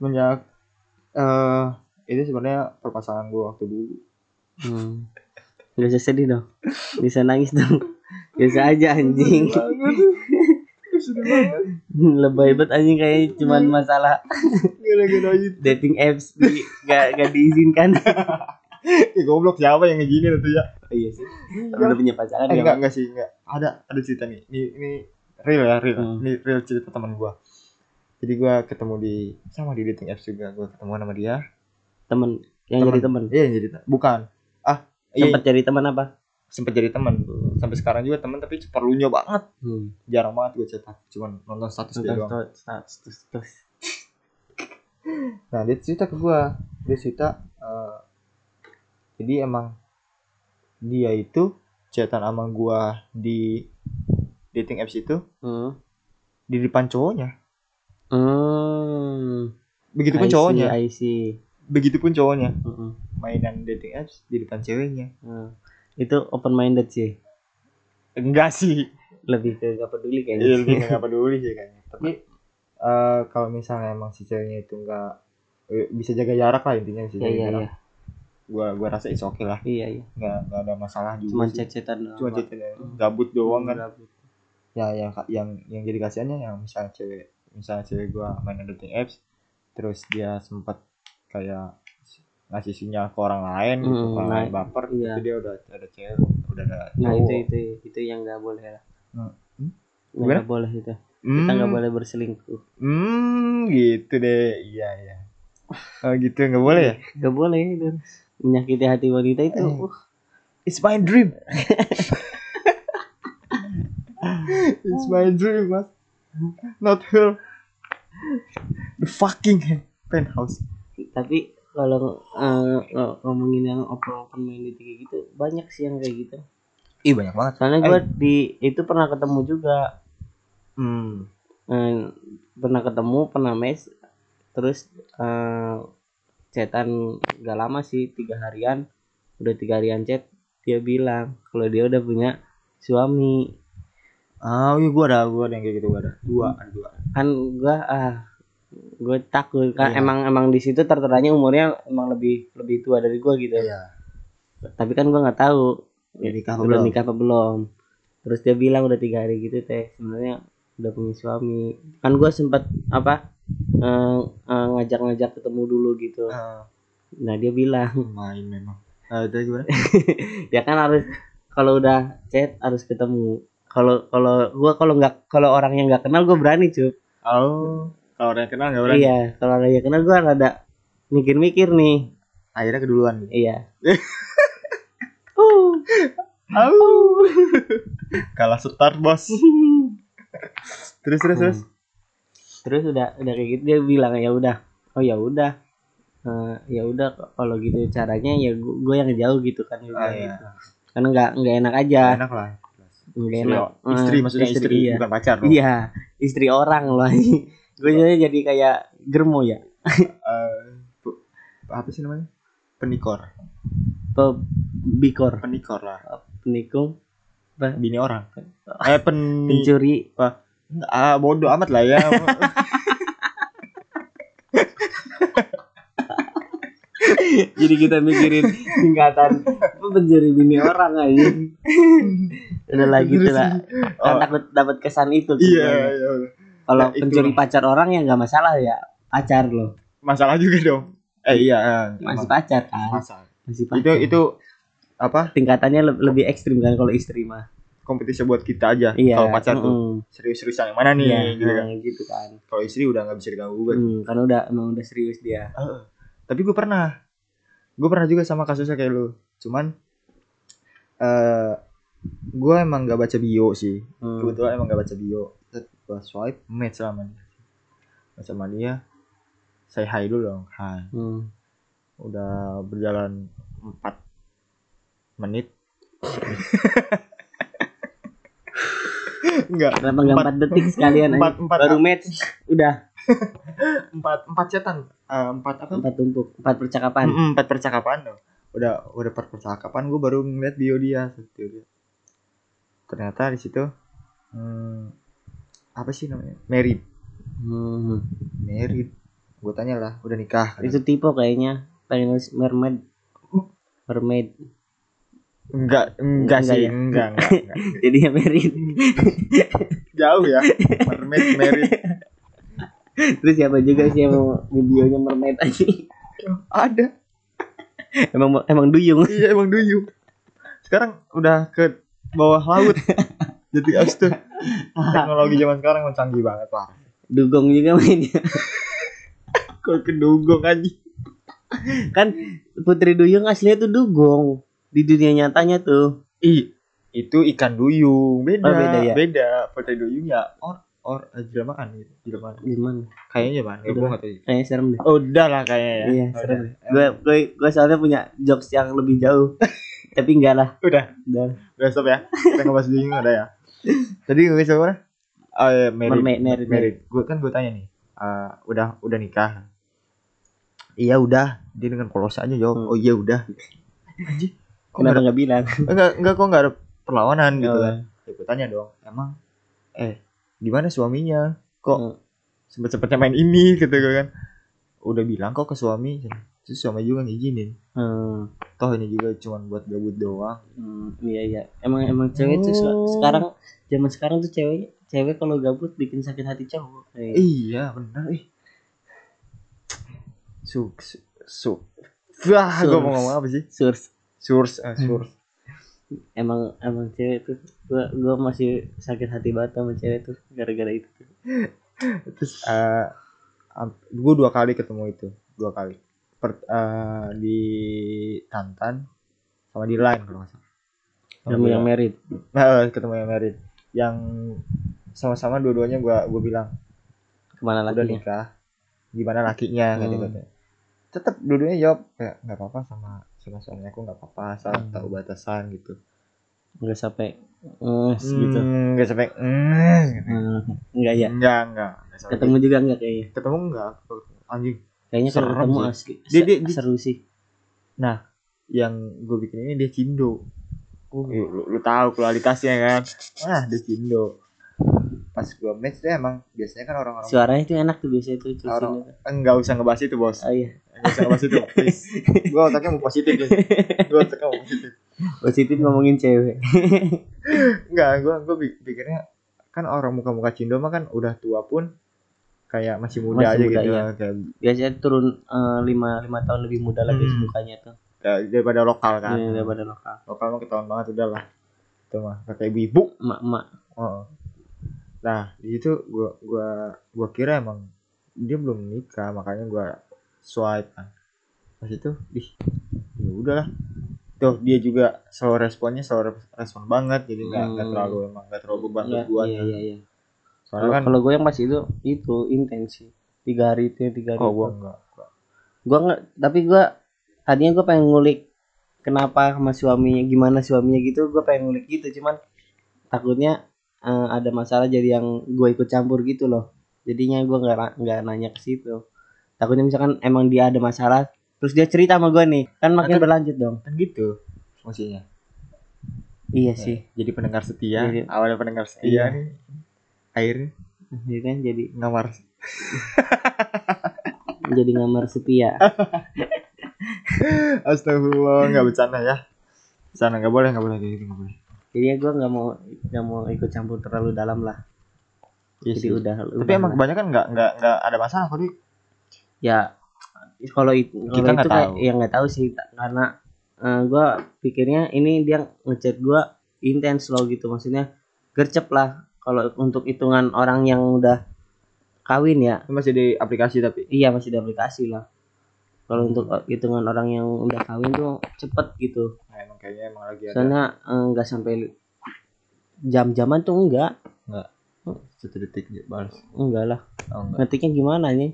Speaker 3: Semenjak eh itu sebenarnya perpasangan gue waktu dulu.
Speaker 2: Hmm. Gak usah sedih dong. Gak usah nangis dong. Gak usah aja anjing. Lebay banget anjing kayaknya cuman masalah
Speaker 3: Gara-gara itu.
Speaker 2: dating apps di, gak, gak diizinkan.
Speaker 3: Ih, goblok siapa yang ngegini itu ya?
Speaker 2: Oh, iya sih. Kalau udah punya pasangan
Speaker 3: Eh,
Speaker 2: ya.
Speaker 3: enggak, enggak sih, enggak. Ada ada cerita nih. Ini ini real ya, real.
Speaker 2: Hmm.
Speaker 3: Ini real cerita teman gua. Jadi gua ketemu di sama di dating apps juga. Gua ketemu sama dia.
Speaker 2: Temen. Yang
Speaker 3: Temen.
Speaker 2: jadi temen.
Speaker 3: Iya, jadi te- bukan. Ah, iya,
Speaker 2: Tempat jadi teman apa?
Speaker 3: sempet jadi teman. Sampai sekarang juga teman tapi perlunya banget. Jarang banget gua cetak, cuman nonton status dia doang.
Speaker 2: Nonton status- status. status.
Speaker 3: Nah, dia cerita ke gua. Dia cerita eh, jadi emang dia itu chatan sama gua di dating apps itu
Speaker 2: Hmm.
Speaker 3: di depan cowoknya.
Speaker 2: Hmm.
Speaker 3: Begitupun
Speaker 2: I see,
Speaker 3: Gitu kan cowoknya.
Speaker 2: I see.
Speaker 3: begitupun cowoknya
Speaker 2: Mm-mm.
Speaker 3: mainan dating apps di depan ceweknya
Speaker 2: Hmm. Itu open minded sih.
Speaker 3: enggak sih
Speaker 2: Lebih ke gak
Speaker 3: iya
Speaker 2: peduli kayaknya.
Speaker 3: lebih nggak peduli sih kayaknya tapi eh, kalau misalnya emang si ceweknya itu enggak eh, bisa jaga jarak lah intinya bisa
Speaker 2: Iya
Speaker 3: jaga
Speaker 2: iya
Speaker 3: jarak
Speaker 2: iya.
Speaker 3: gua gua rasa it's okay lah
Speaker 2: Iya iya.
Speaker 3: nggak nggak ada masalah juga
Speaker 2: Cuman
Speaker 3: Iya sih.
Speaker 2: cecetan doang.
Speaker 3: cuma
Speaker 2: Pak.
Speaker 3: chat gabut doang kan
Speaker 2: Gabut.
Speaker 3: ya yang yang yang jadi kasihannya yang misalnya cewek misalnya cewek gua mainan dating apps terus dia sempat kayak ngasih sinyal ke orang lain gitu
Speaker 2: Hmm,
Speaker 3: orang lain
Speaker 2: nah,
Speaker 3: baper
Speaker 2: iya.
Speaker 3: itu dia udah ada cewek udah ada
Speaker 2: Nah
Speaker 3: cowok.
Speaker 2: itu itu itu yang nggak boleh lah.
Speaker 3: Hmm.
Speaker 2: Yang
Speaker 3: Gimana?
Speaker 2: nggak boleh itu. Kita
Speaker 3: Hmm.
Speaker 2: nggak boleh berselingkuh.
Speaker 3: Hmm, gitu deh. Iya, iya. Oh, gitu nggak boleh ya?
Speaker 2: Nggak boleh itu. Menyakiti hati wanita itu.
Speaker 3: Eh.
Speaker 2: uh,
Speaker 3: It's my dream. It's my dream, mas. Not her. The fucking penthouse.
Speaker 2: tapi kalau eh, ng- ngomongin yang open open minded kayak gitu banyak sih yang kayak gitu.
Speaker 3: Ih banyak banget.
Speaker 2: Soalnya gue di itu pernah ketemu juga.
Speaker 3: Hmm.
Speaker 2: Eh, pernah ketemu pernah mes terus eh chatan gak lama sih tiga harian udah tiga harian chat dia bilang kalau dia udah punya suami
Speaker 3: Ah, iya gua ada, gua ada yang kayak gitu, gua ada. Dua, ada dua.
Speaker 2: kan gua ah gue takut kan
Speaker 3: Iya.
Speaker 2: emang emang di situ terteranya umurnya emang lebih lebih tua dari gua gitu
Speaker 3: Iya.
Speaker 2: tapi kan gua nggak tahu
Speaker 3: Udah nikah apa
Speaker 2: belum
Speaker 3: belum?
Speaker 2: nikah apa belum terus dia bilang udah tiga hari gitu teh sebenarnya udah punya suami kan gua sempat apa eh, eh, ngajak-ngajak ketemu dulu gitu
Speaker 3: Ah,
Speaker 2: nah dia bilang
Speaker 3: main memang. Ah, itu gimana?
Speaker 2: ya kan harus kalau udah chat harus ketemu kalau kalau gua kalau nggak kalau orang yang nggak kenal gua berani cuy
Speaker 3: Oh, kalau orang yang kenal nggak berani.
Speaker 2: iya kalau orang yang kenal gua rada mikir-mikir nih
Speaker 3: Akhirnya keduluan.
Speaker 2: Iya. Uh.
Speaker 3: Au. Kalah start, bos. Terus, terus, terus.
Speaker 2: Hmm. Terus udah udah kayak gitu dia bilang ya udah. Oh ya udah. Eh, ya udah kalau gitu caranya ya gue yang jauh gitu kan dia
Speaker 3: Ah,
Speaker 2: bilang
Speaker 3: iya. Ya.
Speaker 2: gitu. karena nggak nggak enak aja
Speaker 3: enak lah
Speaker 2: nggak
Speaker 3: Istri,
Speaker 2: enak
Speaker 3: oh, istri
Speaker 2: Eh,
Speaker 3: maksudnya istri,
Speaker 2: iya.
Speaker 3: bukan pacar loh.
Speaker 2: iya istri orang loh gue jadi jadi kayak germo ya
Speaker 3: Eh, bu- apa sih namanya penikor
Speaker 2: atau bikor
Speaker 3: penikor lah
Speaker 2: penikung
Speaker 3: bini orang eh pen
Speaker 2: pencuri
Speaker 3: ah bodoh amat lah ya
Speaker 2: jadi kita mikirin tingkatan Lu pencuri bini orang aja udah lah gitu lah kan
Speaker 3: Oh.
Speaker 2: takut dapat kesan itu
Speaker 3: iya
Speaker 2: gitu.
Speaker 3: iya.
Speaker 2: kalau
Speaker 3: Ya, itu
Speaker 2: pencuri
Speaker 3: lah.
Speaker 2: pacar orang ya nggak masalah ya pacar loh
Speaker 3: masalah juga dong eh iya eh,
Speaker 2: masih
Speaker 3: emang.
Speaker 2: pacar kan
Speaker 3: masalah
Speaker 2: masih pacar
Speaker 3: itu itu apa
Speaker 2: tingkatannya le- lebih ekstrim kan kalau istri mah
Speaker 3: kompetisi buat kita aja
Speaker 2: iya
Speaker 3: kalau pacar tuh
Speaker 2: mm-mm.
Speaker 3: serius-seriusan yang mana nih
Speaker 2: Iya,
Speaker 3: gitu kan.
Speaker 2: mm, gitu kan
Speaker 3: kalau istri udah nggak bisa diganggu gugat
Speaker 2: Mm, karena udah emang udah serius dia
Speaker 3: Heeh. tapi gue pernah gue pernah juga sama kasusnya kayak lu cuman eh gue emang gak baca bio sih
Speaker 2: Mm.
Speaker 3: kebetulan emang gak baca bio gue swipe match sama dia match sama dia saya hi dulu dong hi
Speaker 2: Mm.
Speaker 3: udah berjalan 4 menit enggak
Speaker 2: kenapa nggak
Speaker 3: Empat-
Speaker 2: empat detik sekalian aja?
Speaker 3: empat empat
Speaker 2: baru match udah
Speaker 3: empat empat cetan Eh, empat apa
Speaker 2: empat tumpuk empat percakapan
Speaker 3: Mm-mm, empat percakapan loh. Udah udah per percakapan gue baru ngeliat bio dia, bio dia. Ternyata di situ hmm, apa sih namanya? Married.
Speaker 2: Mm.
Speaker 3: Married. Gue tanya lah, udah nikah. kata.
Speaker 2: itu tipe kayaknya pengen nulis mermaid mermaid
Speaker 3: enggak, enggak,
Speaker 2: Enggak
Speaker 3: sih,
Speaker 2: ya?
Speaker 3: enggak, enggak, enggak.
Speaker 2: jadi ya merit
Speaker 3: Mm. Jauh ya. Mermaid married.
Speaker 2: terus siapa juga sih yang mau videonya mermaid aja
Speaker 3: Ada.
Speaker 2: emang emang duyung
Speaker 3: Iya emang duyung. Sekarang udah ke bawah laut. Jadi abis itu teknologi zaman sekarang mencanggih banget lah.
Speaker 2: dugong juga mainnya
Speaker 3: Kok kedugong anjing.
Speaker 2: kan putri duyung aslinya tuh dugong di dunia nyatanya tuh
Speaker 3: I, itu ikan duyung beda
Speaker 2: Oh, beda ya?
Speaker 3: beda pete duyung ya or or eh, jelamaan gitu jelamaan
Speaker 2: gimana
Speaker 3: kayaknya man
Speaker 2: Udah.
Speaker 3: gue nggak tahu ya.
Speaker 2: kayaknya serem deh
Speaker 3: udah lah kayaknya ya
Speaker 2: iya
Speaker 3: udah.
Speaker 2: serem deh. gue gue gue soalnya punya jokes yang lebih jauh tapi enggak lah
Speaker 3: udah
Speaker 2: dan
Speaker 3: udah stop ya kita ngebahas duyung udah ya tadi gue siapa mana oh
Speaker 2: Eh,
Speaker 3: iya, merit
Speaker 2: mermaid merit, merit.
Speaker 3: merit gue kan gue tanya nih eh, udah udah nikah iya udah dia dengan polos aja jawab
Speaker 2: Hmm.
Speaker 3: oh iya udah anjing kok nggak
Speaker 2: kenapa
Speaker 3: ada-
Speaker 2: nggak bilang
Speaker 3: enggak enggak kok nggak ada perlawanan gitu
Speaker 2: Oh.
Speaker 3: kan ya, gue tanya dong emang eh gimana suaminya kok
Speaker 2: Hmm.
Speaker 3: sempet-sempetnya main ini gitu gue kan udah bilang kok ke suami terus suami juga ngizinin
Speaker 2: hmm.
Speaker 3: toh ini juga cuman buat gabut doang
Speaker 2: hmm, iya iya emang emang cewek tuh se-
Speaker 3: Oh.
Speaker 2: sekarang zaman sekarang tuh cewek cewek kalau gabut bikin sakit hati cowok Iya.
Speaker 3: iya bener ih suk su- su wah gue mau ngomong apa sih
Speaker 2: Surs.
Speaker 3: source eh, source
Speaker 2: emang emang cewek tuh gua gua masih sakit hati banget sama cewek tuh gara-gara itu tuh.
Speaker 3: terus eh gue dua kali ketemu itu dua kali Per- eh, di Tantan sama di Line kalau nggak salah Sama
Speaker 2: kamu
Speaker 3: di
Speaker 2: yang
Speaker 3: Line.
Speaker 2: merit
Speaker 3: Nah, ketemu yang merit yang sama-sama dua-duanya gua gua bilang
Speaker 2: kemana
Speaker 3: udah
Speaker 2: lagi
Speaker 3: nikah gimana lakinya
Speaker 2: Hmm.
Speaker 3: kata kata tetap dua-duanya jawab kayak nggak apa-apa sama sama suami aku nggak apa-apa asal
Speaker 2: Hmm.
Speaker 3: tahu batasan gitu
Speaker 2: nggak sampai eh
Speaker 3: gitu
Speaker 2: gitu
Speaker 3: nggak sampai "Mm," gitu.
Speaker 2: enggak ya
Speaker 3: nggak nggak nggak sampai
Speaker 2: ketemu juga enggak kayaknya
Speaker 3: gitu. ketemu nggak anjing
Speaker 2: kayaknya kalau
Speaker 3: Serem
Speaker 2: ketemu
Speaker 3: sih.
Speaker 2: asli
Speaker 3: Dia-
Speaker 2: se-
Speaker 3: dia- dia-
Speaker 2: seru sih
Speaker 3: yang gue bikin ini dia cindo
Speaker 2: Oh.
Speaker 3: Eh, lu, lu tahu kualitasnya kan ah dia cindo pas gua match dia emang biasanya kan orang-orang
Speaker 2: suaranya tuh enak tuh biasanya tuh cuci
Speaker 3: Orang-
Speaker 2: gitu.
Speaker 3: nggak usah ngebahas itu bos
Speaker 2: oh iya
Speaker 3: nggak usah ngebahas itu please gue otaknya mau positif nih gue otaknya mau positif Oh,
Speaker 2: positif ngomongin cewek
Speaker 3: Enggak, gua gua pi- pikirnya kan orang muka-muka Cindo mah kan udah tua pun kayak masih muda
Speaker 2: Masih
Speaker 3: aja
Speaker 2: muda,
Speaker 3: gitu
Speaker 2: iya.
Speaker 3: kayak
Speaker 2: biasanya turun eh, lima lima tahun lebih muda lagi
Speaker 3: Hmm.
Speaker 2: mukanya tuh
Speaker 3: kayak daripada lokal kan.
Speaker 2: Ini daripada lokal
Speaker 3: Lokal mah ketahuan banget udah lah. Itu mah pakai ibu.
Speaker 2: emak-emak
Speaker 3: Heeh. Nah, di situ gua gua gua kira emang dia belum nikah makanya gua swipe kan. Pas itu, ih, ya udahlah. Tuh, dia juga slow responnya slow res- respon banget jadi nggak nggak
Speaker 2: Hmm.
Speaker 3: terlalu emang nggak terlalu beban
Speaker 2: Iya,
Speaker 3: buat gua.
Speaker 2: iya iya iya
Speaker 3: Soalnya
Speaker 2: kalau
Speaker 3: kan
Speaker 2: kalau gue yang masih itu itu intens sih tiga
Speaker 3: Oh,
Speaker 2: hari itu tiga hari
Speaker 3: kok
Speaker 2: itu.
Speaker 3: gua enggak.
Speaker 2: gua nggak tapi gua tadinya gua pengen ngulik kenapa sama suaminya gimana suaminya gitu gue pengen ngulik gitu cuman takutnya eh, ada masalah jadi yang gue ikut campur gitu loh jadinya gue nggak na- nggak nanya ke situ takutnya misalkan emang dia ada masalah terus dia cerita sama gue nih kan makin
Speaker 3: Atau-
Speaker 2: berlanjut dong
Speaker 3: kan gitu maksudnya
Speaker 2: iya sih
Speaker 3: jadi pendengar setia
Speaker 2: Jadi-
Speaker 3: awalnya pendengar
Speaker 2: Iya.
Speaker 3: setia nih akhirnya
Speaker 2: Iya kan jadi
Speaker 3: ngamar
Speaker 2: jadi ngamar setia
Speaker 3: astagfirullah nggak bercanda ya bercanda nggak boleh nggak boleh kayak gitu nggak boleh
Speaker 2: jadi gue nggak mau nggak mau ikut campur terlalu dalam lah
Speaker 3: Iya
Speaker 2: jadi
Speaker 3: sih.
Speaker 2: udah
Speaker 3: tapi
Speaker 2: udah
Speaker 3: emang
Speaker 2: lah.
Speaker 3: kebanyakan nggak nggak nggak ada masalah kok Di.
Speaker 2: ya kalau itu kalau
Speaker 3: Kita nggak
Speaker 2: itu kayak
Speaker 3: tahu.
Speaker 2: ya nggak tahu sih ta- karena gue pikirnya ini dia ngechat gue intens loh gitu maksudnya gercep lah kalau untuk hitungan orang yang udah kawin ya
Speaker 3: Ini masih di aplikasi tapi
Speaker 2: iya masih di aplikasi lah
Speaker 3: Hmm.
Speaker 2: kalau untuk eh, hitungan orang yang udah kawin tuh cepet gitu
Speaker 3: nah, emang kayaknya emang lagi ada
Speaker 2: karena nggak sampai li- jam-jaman tuh enggak
Speaker 3: satu detik aja balas
Speaker 2: enggak lah
Speaker 3: oh, enggak.
Speaker 2: ngetiknya gimana nih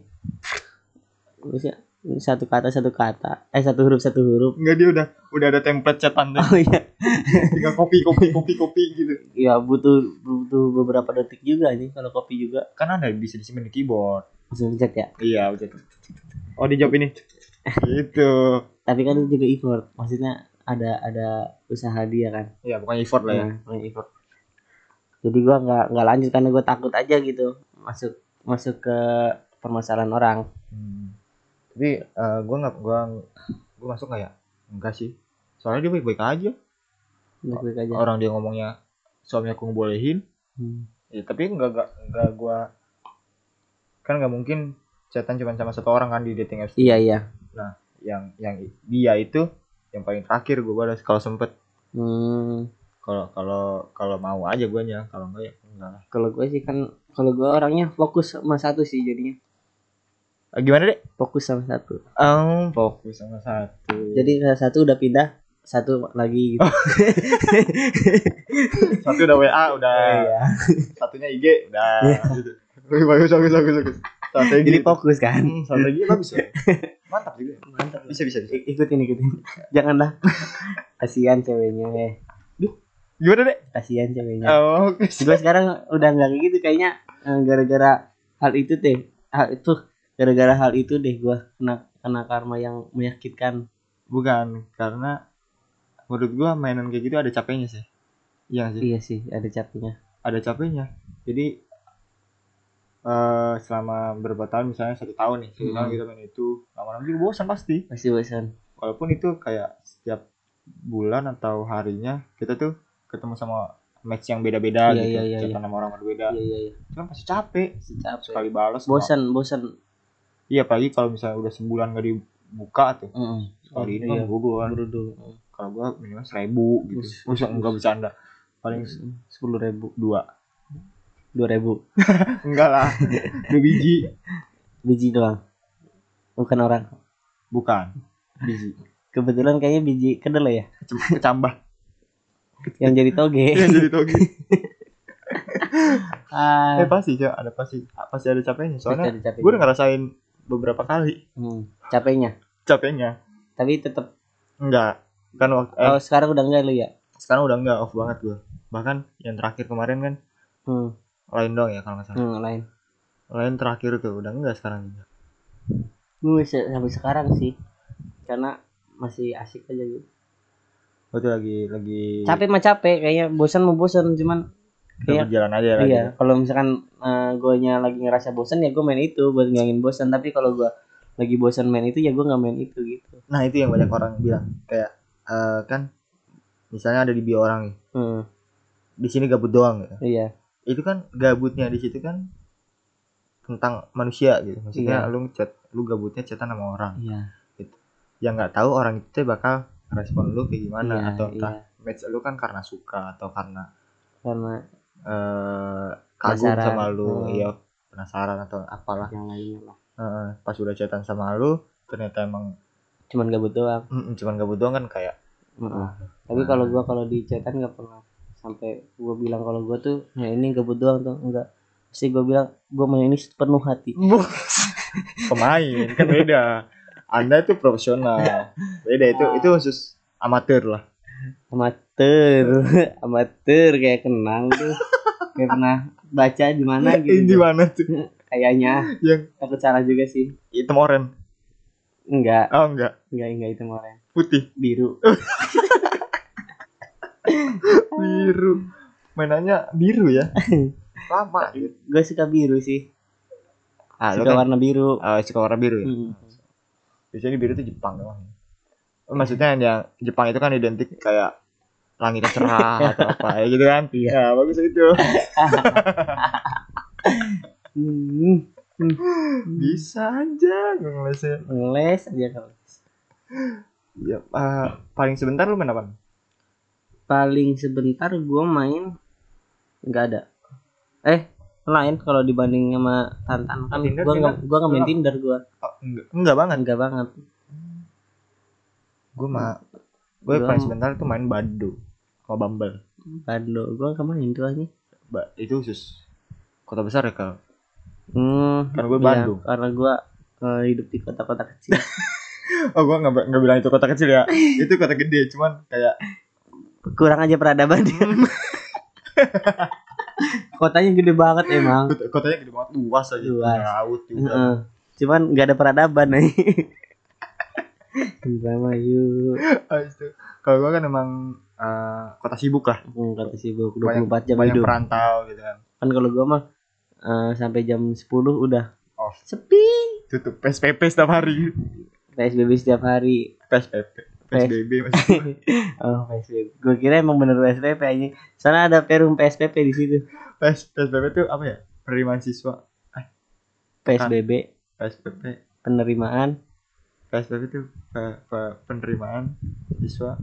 Speaker 2: Maksudnya, satu kata satu kata eh satu huruf satu huruf
Speaker 3: Enggak dia udah udah ada template chatan deh.
Speaker 2: oh iya
Speaker 3: Tinggal copy copy copy copy gitu.
Speaker 2: ya butuh butuh beberapa detik juga nih kalau kopi juga
Speaker 3: Kan ada bisa disimpan di keyboard.
Speaker 2: langsung pencet ya
Speaker 3: Iya, udah. Oh, dijawab ini. gitu.
Speaker 2: tapi kan itu juga effort maksudnya ada ada usaha dia kan
Speaker 3: Iya, bukan effort lah ya.
Speaker 2: Nah, punya effort jadi gua nggak nggak lanjut karena gua takut aja gitu masuk masuk ke permasalahan orang
Speaker 3: Hmm. Tapi eh, gua nggak gua gua masuk nggak ya? Enggak sih. Soalnya dia baik-baik aja.
Speaker 2: baik aja
Speaker 3: Orang dia ngomongnya suami aku ngebolehin.
Speaker 2: Hmm.
Speaker 3: Ya, tapi enggak enggak enggak gua kan nggak mungkin chatan cuma sama satu orang kan di dating apps.
Speaker 2: iya iya
Speaker 3: Yang yang dia itu yang paling terakhir gua balas kalau sempet
Speaker 2: hmm,
Speaker 3: kalau kalau kalau mau aja guanya kalau enggak ya enggak lah
Speaker 2: kalau gue sih kan kalau gue orangnya fokus sama satu sih jadinya
Speaker 3: Eh, gimana deh
Speaker 2: fokus sama satu
Speaker 3: um, fokus sama satu
Speaker 2: jadi kalau satu udah pindah satu lagi gitu.
Speaker 3: satu udah wa udah
Speaker 2: Iya.
Speaker 3: satunya ig udah gitu. bagus bagus bagus bagus strategi
Speaker 2: jadi fokus kan
Speaker 3: Hmm, strategi bagus ya. mantap juga mantap bisa bisa bisa
Speaker 2: I- ikutin ikutin janganlah kasihan ceweknya eh
Speaker 3: gimana deh
Speaker 2: kasihan ceweknya
Speaker 3: oh, oke
Speaker 2: gue sekarang udah nggak kayak gitu kayaknya eh, gara-gara hal itu deh hal itu gara-gara hal itu deh gue kena kena karma yang menyakitkan
Speaker 3: bukan karena menurut gua mainan kayak gitu ada capeknya sih iya nggak sih
Speaker 2: iya sih ada capeknya
Speaker 3: ada capeknya jadi eh selama berapa tahun misalnya satu tahun nih satu tahun
Speaker 2: Hmm.
Speaker 3: kita main itu lama-lama juga bosan pasti
Speaker 2: pasti bosan
Speaker 3: walaupun itu kayak setiap bulan atau harinya kita tuh ketemu sama match yang beda-beda
Speaker 2: Iya,
Speaker 3: gitu
Speaker 2: iya, iya,
Speaker 3: Contoh sama orang berbeda
Speaker 2: iya iya iya
Speaker 3: cuman pasti capek
Speaker 2: Pasti capek
Speaker 3: sekali balas
Speaker 2: bosan bosan
Speaker 3: nggak- iya apalagi kalau misalnya udah sebulan gak dibuka tuh
Speaker 2: Mm-mm.
Speaker 3: kali ini
Speaker 2: Iya,
Speaker 3: kan gua gua-
Speaker 2: baru dulu Mm.
Speaker 3: kalau gua minimal seribu gitu
Speaker 2: Bus-
Speaker 3: Masa enggak bercanda paling
Speaker 2: sepuluh ribu
Speaker 3: dua
Speaker 2: dua ribu
Speaker 3: enggak lah dua biji
Speaker 2: biji doang bukan orang
Speaker 3: bukan biji
Speaker 2: kebetulan kayaknya biji kedelai ya
Speaker 3: Kecem- kecambah
Speaker 2: yang jadi toge
Speaker 3: Iya, jadi toge
Speaker 2: ah
Speaker 3: eh pasti Cok. ada pasti pasti ada capeknya soalnya
Speaker 2: Pasti Ah, ada capeknya.
Speaker 3: gua udah ngerasain beberapa kali
Speaker 2: Hmm, capeknya
Speaker 3: capeknya
Speaker 2: tapi tetap
Speaker 3: Enggak. Kan waktu eh,
Speaker 2: oh, sekarang udah enggak lu ya
Speaker 3: sekarang udah enggak off banget gua. Bahkan yang terakhir kemarin kan
Speaker 2: hmm,
Speaker 3: lain dong ya kalau nggak salah.
Speaker 2: hmm lain
Speaker 3: Lain terakhir tuh udah enggak sekarang juga.
Speaker 2: gue se- sampai sekarang sih karena masih asik aja gitu
Speaker 3: Gua tuh lagi lagi
Speaker 2: capek mah capek kayaknya bosan mau bosan cuman
Speaker 3: udah
Speaker 2: iya.
Speaker 3: berjalan aja lagi.
Speaker 2: iya kalau misalkan gue nya lagi ngerasa bosan ya gue main itu buat ngilangin bosan tapi kalau gue lagi bosan main itu ya gue nggak main itu gitu
Speaker 3: Nah, itu yang banyak orang bilang kayak eh, kan misalnya ada di bio orang nih.
Speaker 2: hmm,
Speaker 3: Di sini gabut doang gitu.
Speaker 2: iya
Speaker 3: Itu kan gabutnya di situ kan tentang manusia gitu. Maksudnya
Speaker 2: Iya.
Speaker 3: lu chat, lu gabutnya chatan sama orang.
Speaker 2: iya
Speaker 3: Yang nggak tahu orang itu bakal respon lu kayak gimana
Speaker 2: Iya,
Speaker 3: atau entah
Speaker 2: iya.
Speaker 3: match lu kan karena suka atau karena
Speaker 2: karena
Speaker 3: eh kagum
Speaker 2: Penasaran.
Speaker 3: sama lu
Speaker 2: Hmm.
Speaker 3: iya penasaran atau apalah
Speaker 2: yang lainnya lah
Speaker 3: Heeh, pas udah chatan sama lu ternyata emang
Speaker 2: cuman gabut doang
Speaker 3: mm, mm, cuman gabut doang kan kayak
Speaker 2: Heeh. tapi kalau gua kalau di chatan nggak pernah sampai gua bilang kalau gua tuh ya ini gabut doang tuh enggak pasti gua bilang gua main ini sepenuh hati
Speaker 3: pemain kan beda anda itu profesional beda itu itu khusus amatir lah
Speaker 2: amatir amatir kayak kenang tuh kayak pernah baca di mana
Speaker 3: Eh, di
Speaker 2: gitu
Speaker 3: mana tuh
Speaker 2: kayaknya
Speaker 3: yang
Speaker 2: aku salah juga sih
Speaker 3: hitam oranye
Speaker 2: enggak
Speaker 3: oh enggak
Speaker 2: enggak enggak itu oranye
Speaker 3: putih
Speaker 2: biru
Speaker 3: biru mainannya biru ya lama gitu.
Speaker 2: gue suka biru sih
Speaker 3: ah lu
Speaker 2: suka
Speaker 3: kan
Speaker 2: warna biru
Speaker 3: eh, suka warna biru ya
Speaker 2: Hmm.
Speaker 3: biasanya biru itu Jepang doang maksudnya yang Jepang itu kan identik kayak langitnya cerah atau apa ya gitu kan
Speaker 2: Iya.
Speaker 3: Ya, bagus itu
Speaker 2: Hmm.
Speaker 3: bisa aja gue ngelesnya
Speaker 2: les aja kalau
Speaker 3: ya, eh, paling sebentar lu main apa
Speaker 2: paling sebentar gue main nggak ada eh lain kalau dibanding sama Tantan kan
Speaker 3: Tinder,
Speaker 2: gue nggak
Speaker 3: Tinder.
Speaker 2: gue nggak main
Speaker 3: Kenapa?
Speaker 2: Tinder gue
Speaker 3: oh, enggak enggak banget
Speaker 2: enggak banget
Speaker 3: gue mah gue
Speaker 2: Gua-
Speaker 3: paling sebentar tuh main badu kalau bumble
Speaker 2: Bando gue nggak main tuh aja
Speaker 3: Ba- itu khusus kota besar ya kal
Speaker 2: hmm,
Speaker 3: Karena gua
Speaker 2: iya,
Speaker 3: Bandung.
Speaker 2: karena gue hidup di kota-kota kecil
Speaker 3: oh gue nggak nggak bilang itu kota kecil ya itu kota gede cuman kayak
Speaker 2: kurang aja peradaban dia. kotanya gede banget emang
Speaker 3: kota- kotanya gede banget Ah. luas Ah. aja
Speaker 2: Luas.
Speaker 3: laut juga
Speaker 2: Heeh. cuman nggak ada peradaban nih Indramayu
Speaker 3: Habis Ah, itu kalau gua kan emang eh, kota sibuk lah
Speaker 2: Hmm, kata sibuk
Speaker 3: Banyak-
Speaker 2: 24 jam
Speaker 3: banyak
Speaker 2: hidup
Speaker 3: perantau gitu kan
Speaker 2: kan kalau gua mah eh, sampai jam 10 udah
Speaker 3: Off.
Speaker 2: sepi
Speaker 3: Oh, tutup psbb setiap hari
Speaker 2: PSBB setiap hari
Speaker 3: psbb psbb maksudnya.
Speaker 2: oh PSBB gue kira emang bener PSBB aja soalnya ada perum PSBB di situ
Speaker 3: PS, psbb tuh apa ya penerimaan siswa
Speaker 2: PSBB
Speaker 3: psbb
Speaker 2: penerimaan
Speaker 3: Ah, psbb tuh eh, pe- penerimaan siswa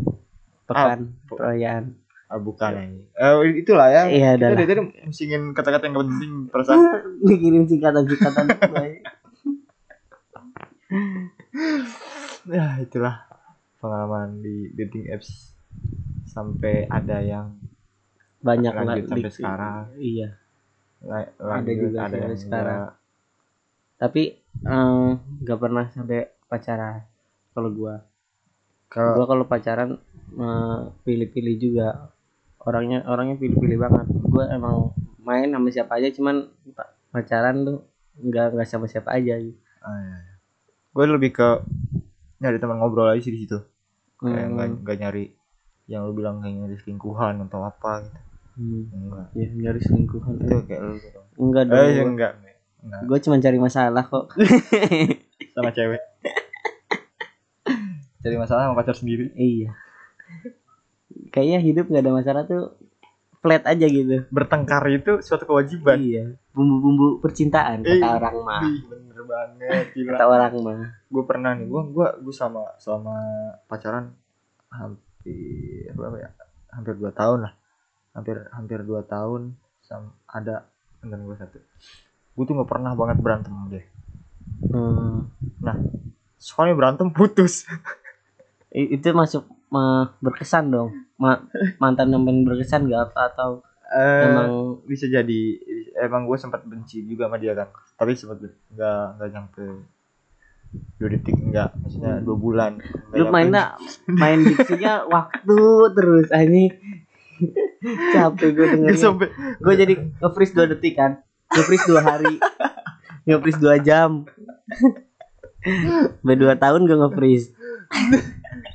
Speaker 2: pekan
Speaker 3: Ah, po-
Speaker 2: perayaan
Speaker 3: ah, bukan ini. Eh, itulah ya
Speaker 2: Iya,
Speaker 3: kita
Speaker 2: adalah.
Speaker 3: dari tadi musingin kata-kata yang gak penting perasaan
Speaker 2: mikirin singkatan-singkatan
Speaker 3: ya itulah pengalaman di dating apps sampai ada yang
Speaker 2: banyak
Speaker 3: Lanjut
Speaker 2: lah,
Speaker 3: sampai
Speaker 2: di-
Speaker 3: sekarang.
Speaker 2: iya
Speaker 3: la-
Speaker 2: Ada
Speaker 3: lanjut,
Speaker 2: juga sampai
Speaker 3: yang
Speaker 2: sekarang.
Speaker 3: enggak.
Speaker 2: tapi eh, nggak pernah sampai pacaran kalau gua
Speaker 3: kalau
Speaker 2: gua kalau pacaran eh, pilih-pilih juga orangnya orangnya pilih-pilih banget gua emang main sama siapa aja cuman pa- pacaran tuh nggak nggak sama siapa aja gitu.
Speaker 3: ah, gue iya, lebih ke nyari teman ngobrol aja sih di situ kayak nggak
Speaker 2: Hmm,
Speaker 3: nggak nyari yang lu bilang kayak nyari selingkuhan atau apa gitu
Speaker 2: hmm.
Speaker 3: enggak
Speaker 2: ya nyari selingkuhan
Speaker 3: itu kayak lu gitu.
Speaker 2: enggak dong
Speaker 3: eh enggak enggak
Speaker 2: gua cuma cari masalah kok
Speaker 3: sama cewek cari masalah sama pacar sendiri
Speaker 2: iya kayaknya hidup nggak ada masalah tuh flat aja gitu
Speaker 3: bertengkar itu suatu kewajiban
Speaker 2: iya bumbu-bumbu percintaan kata
Speaker 3: Eh,
Speaker 2: orang mah
Speaker 3: ih, bener banget gila
Speaker 2: Ah. kata orang mah
Speaker 3: gue pernah nih gue gue gue sama sama pacaran hampir berapa ya hampir dua tahun lah hampir hampir dua tahun sam ada temen gue satu gue tuh nggak pernah banget berantem sama dia
Speaker 2: Hmm.
Speaker 3: soalnya berantem putus
Speaker 2: I- itu masuk eh, berkesan dong Ma- mantan yang paling berkesan gak apa atau
Speaker 3: emang
Speaker 2: emang
Speaker 3: Eh, bisa jadi emang gue sempat benci juga sama dia kan tapi sempat nggak nggak nyampe dua detik enggak maksudnya dua bulan Nggak
Speaker 2: Hmm. lu
Speaker 3: nyampe.
Speaker 2: mainnya main diksinya waktu terus anjing capek gue
Speaker 3: Nggak
Speaker 2: dengerin
Speaker 3: sampai
Speaker 2: gue jadi nge-freeze 2 detik kan nge-freeze 2 hari nge-freeze 2 jam Sampai 2 tahun gue nge-freeze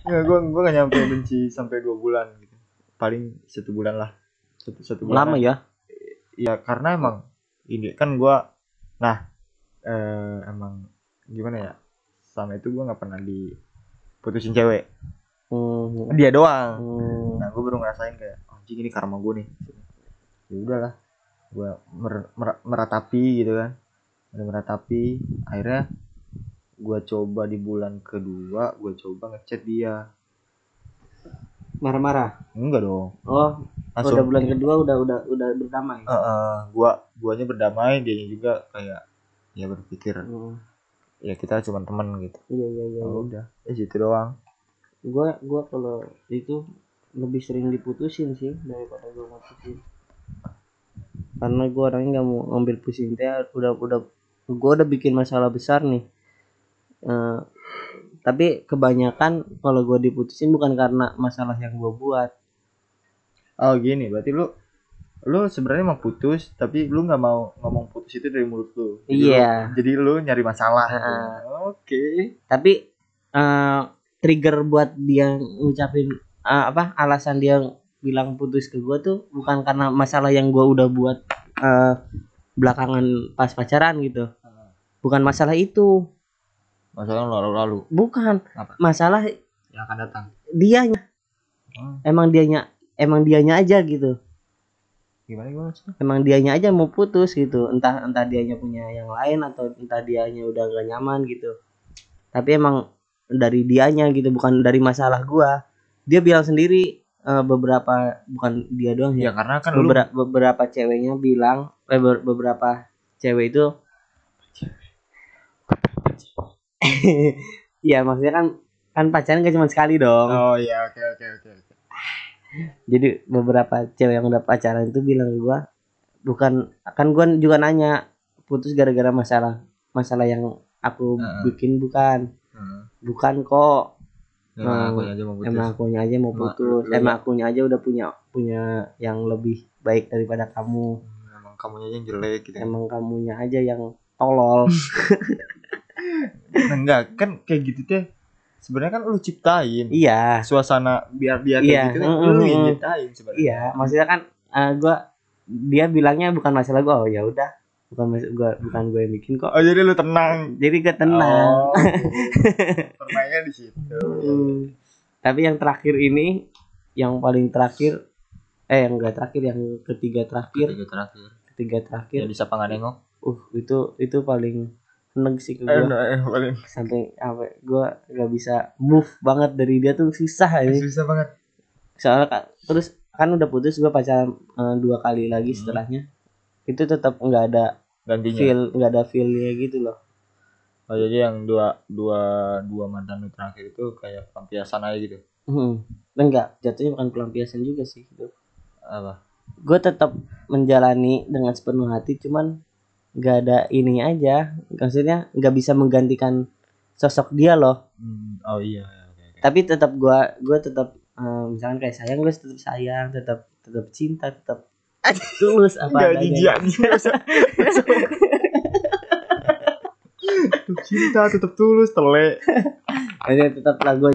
Speaker 3: Nggak, gue gue gak nyampe benci sampai dua bulan gitu. Paling satu bulan lah. Satu satu
Speaker 2: Lama
Speaker 3: bulan.
Speaker 2: ya
Speaker 3: Iya, karena emang ini kan gua nah eh, emang gimana ya? Sama itu gua nggak pernah diputusin cewek.
Speaker 2: hmm.
Speaker 3: Dia doang.
Speaker 2: Hmm.
Speaker 3: Nah, gue baru ngerasain kayak anjing ini karma gue nih. Ya udahlah. Gua mer- mer- meratapi gitu kan. Udah meratapi, akhirnya gua coba di bulan kedua gua coba ngechat dia
Speaker 2: marah-marah
Speaker 3: enggak dong
Speaker 2: oh udah bulan kedua udah udah udah berdamai
Speaker 3: Eh, eh, gua guanya berdamai dia juga kayak ya berpikir
Speaker 2: Hmm.
Speaker 3: ya kita cuma teman gitu
Speaker 2: iya iya iya
Speaker 3: oh, udah ya situ doang
Speaker 2: gua gua kalau itu lebih sering diputusin sih daripada gua mutusin karena gua orangnya nggak mau ambil pusing teh udah udah gua udah bikin masalah besar nih Eh, tapi kebanyakan kalau gue diputusin bukan karena masalah yang gue buat
Speaker 3: Oh gini, berarti lu lu sebenarnya mau putus tapi lu nggak mau ngomong putus itu dari mulut lu. Jadi lu-
Speaker 2: iya
Speaker 3: Jadi lu nyari masalah. gitu.
Speaker 2: Ah.
Speaker 3: Oke.
Speaker 2: tapi eh, trigger buat dia ngucapin eh, apa alasan dia bilang putus ke gue tuh bukan karena masalah yang gue udah buat eh, belakangan pas pacaran gitu bukan masalah itu
Speaker 1: Masalah lalu-lalu
Speaker 2: bukan
Speaker 1: Apa?
Speaker 2: masalah
Speaker 1: yang akan datang.
Speaker 2: dianya
Speaker 1: Hmm.
Speaker 2: emang dianya emang dianya aja gitu
Speaker 1: Gimana gimana sih?
Speaker 2: emang dianya aja mau putus gitu entah entah dianya punya yang lain atau entah dianya udah gak nyaman gitu tapi emang dari dianya gitu bukan dari masalah gua dia bilang sendiri eh, beberapa bukan dia doang ya
Speaker 1: Ya karena kan lu
Speaker 2: beberapa beberapa ceweknya bilang eh, ber- beberapa cewek itu ya maksudnya kan kan pacaran gak cuma sekali dong
Speaker 3: Oh iya, oke oke oke. oke.
Speaker 2: jadi beberapa cewek yang udah pacaran itu bilang ke gua bukan kan gua juga nanya putus gara-gara masalah masalah yang aku
Speaker 1: Heeh.
Speaker 2: bikin bukan
Speaker 1: Hmm.
Speaker 2: bukan kok
Speaker 3: Ya,
Speaker 1: Nah, Emang
Speaker 2: Hmm.
Speaker 1: aku aja mau putus.
Speaker 2: emang akunya aja mau
Speaker 1: Ma-
Speaker 2: putus
Speaker 1: lu- lu-
Speaker 2: emang akunya aja udah punya punya yang lebih baik daripada kamu
Speaker 1: Hmm, Emang kamunya aja yang jelek gitu.
Speaker 2: emang kamunya aja yang tolol
Speaker 3: Nah, enggak, kan kayak gitu deh. Sebenarnya kan lu ciptain
Speaker 2: iya
Speaker 3: suasana biar dia kayak
Speaker 2: Iya,
Speaker 3: gitu kan
Speaker 2: mm,
Speaker 3: lu
Speaker 2: mm,
Speaker 3: yang
Speaker 2: mm.
Speaker 3: ciptain sebenarnya.
Speaker 2: iya maksudnya kan eh, gua dia bilangnya bukan masalah gua oh ya udah bukan mas- gua bukan gue yang bikin kok
Speaker 3: Oh jadi lu tenang.
Speaker 2: jadi gue tenang
Speaker 3: Oh, gitu. Tenangnya di situ.
Speaker 2: Hmm. Tapi yang terakhir ini, yang paling terakhir, eh yang enggak terakhir, yang ketiga terakhir,
Speaker 1: Tiga terakhir.
Speaker 2: ketiga
Speaker 1: Ya
Speaker 2: terakhir,
Speaker 1: bisa pangan nengok.
Speaker 2: uh itu itu paling seneng sih
Speaker 3: Eh,
Speaker 2: ke gue
Speaker 3: nah, eh, paling
Speaker 2: sampai apa gue nggak bisa move banget dari dia tuh susah ini
Speaker 3: susah banget.
Speaker 2: soalnya kan terus kan udah putus gue pacaran eh, dua kali lagi
Speaker 1: Hmm.
Speaker 2: setelahnya itu tetap nggak ada
Speaker 3: Gantinya.
Speaker 2: feel nggak ada feelnya gitu loh
Speaker 1: Oh jadi yang dua dua dua mantan lu terakhir itu kayak pelampiasan aja gitu.
Speaker 2: hmm. enggak jatuhnya bukan pelampiasan juga sih gitu. itu
Speaker 1: Apa?
Speaker 2: gue tetap menjalani dengan sepenuh hati cuman nggak ada ini aja maksudnya nggak bisa menggantikan sosok dia loh
Speaker 1: Hmm, oh iya. iya, Oke oke.
Speaker 2: tapi tetap gue gue tetap eh, misalkan kayak sayang gue tetap sayang tetap tetap cinta tetap tulus apa
Speaker 3: Enggak jijik
Speaker 2: adanya
Speaker 3: anjing. Tetap cinta tetap tulus tele.
Speaker 2: Maksudnya tetap lah gue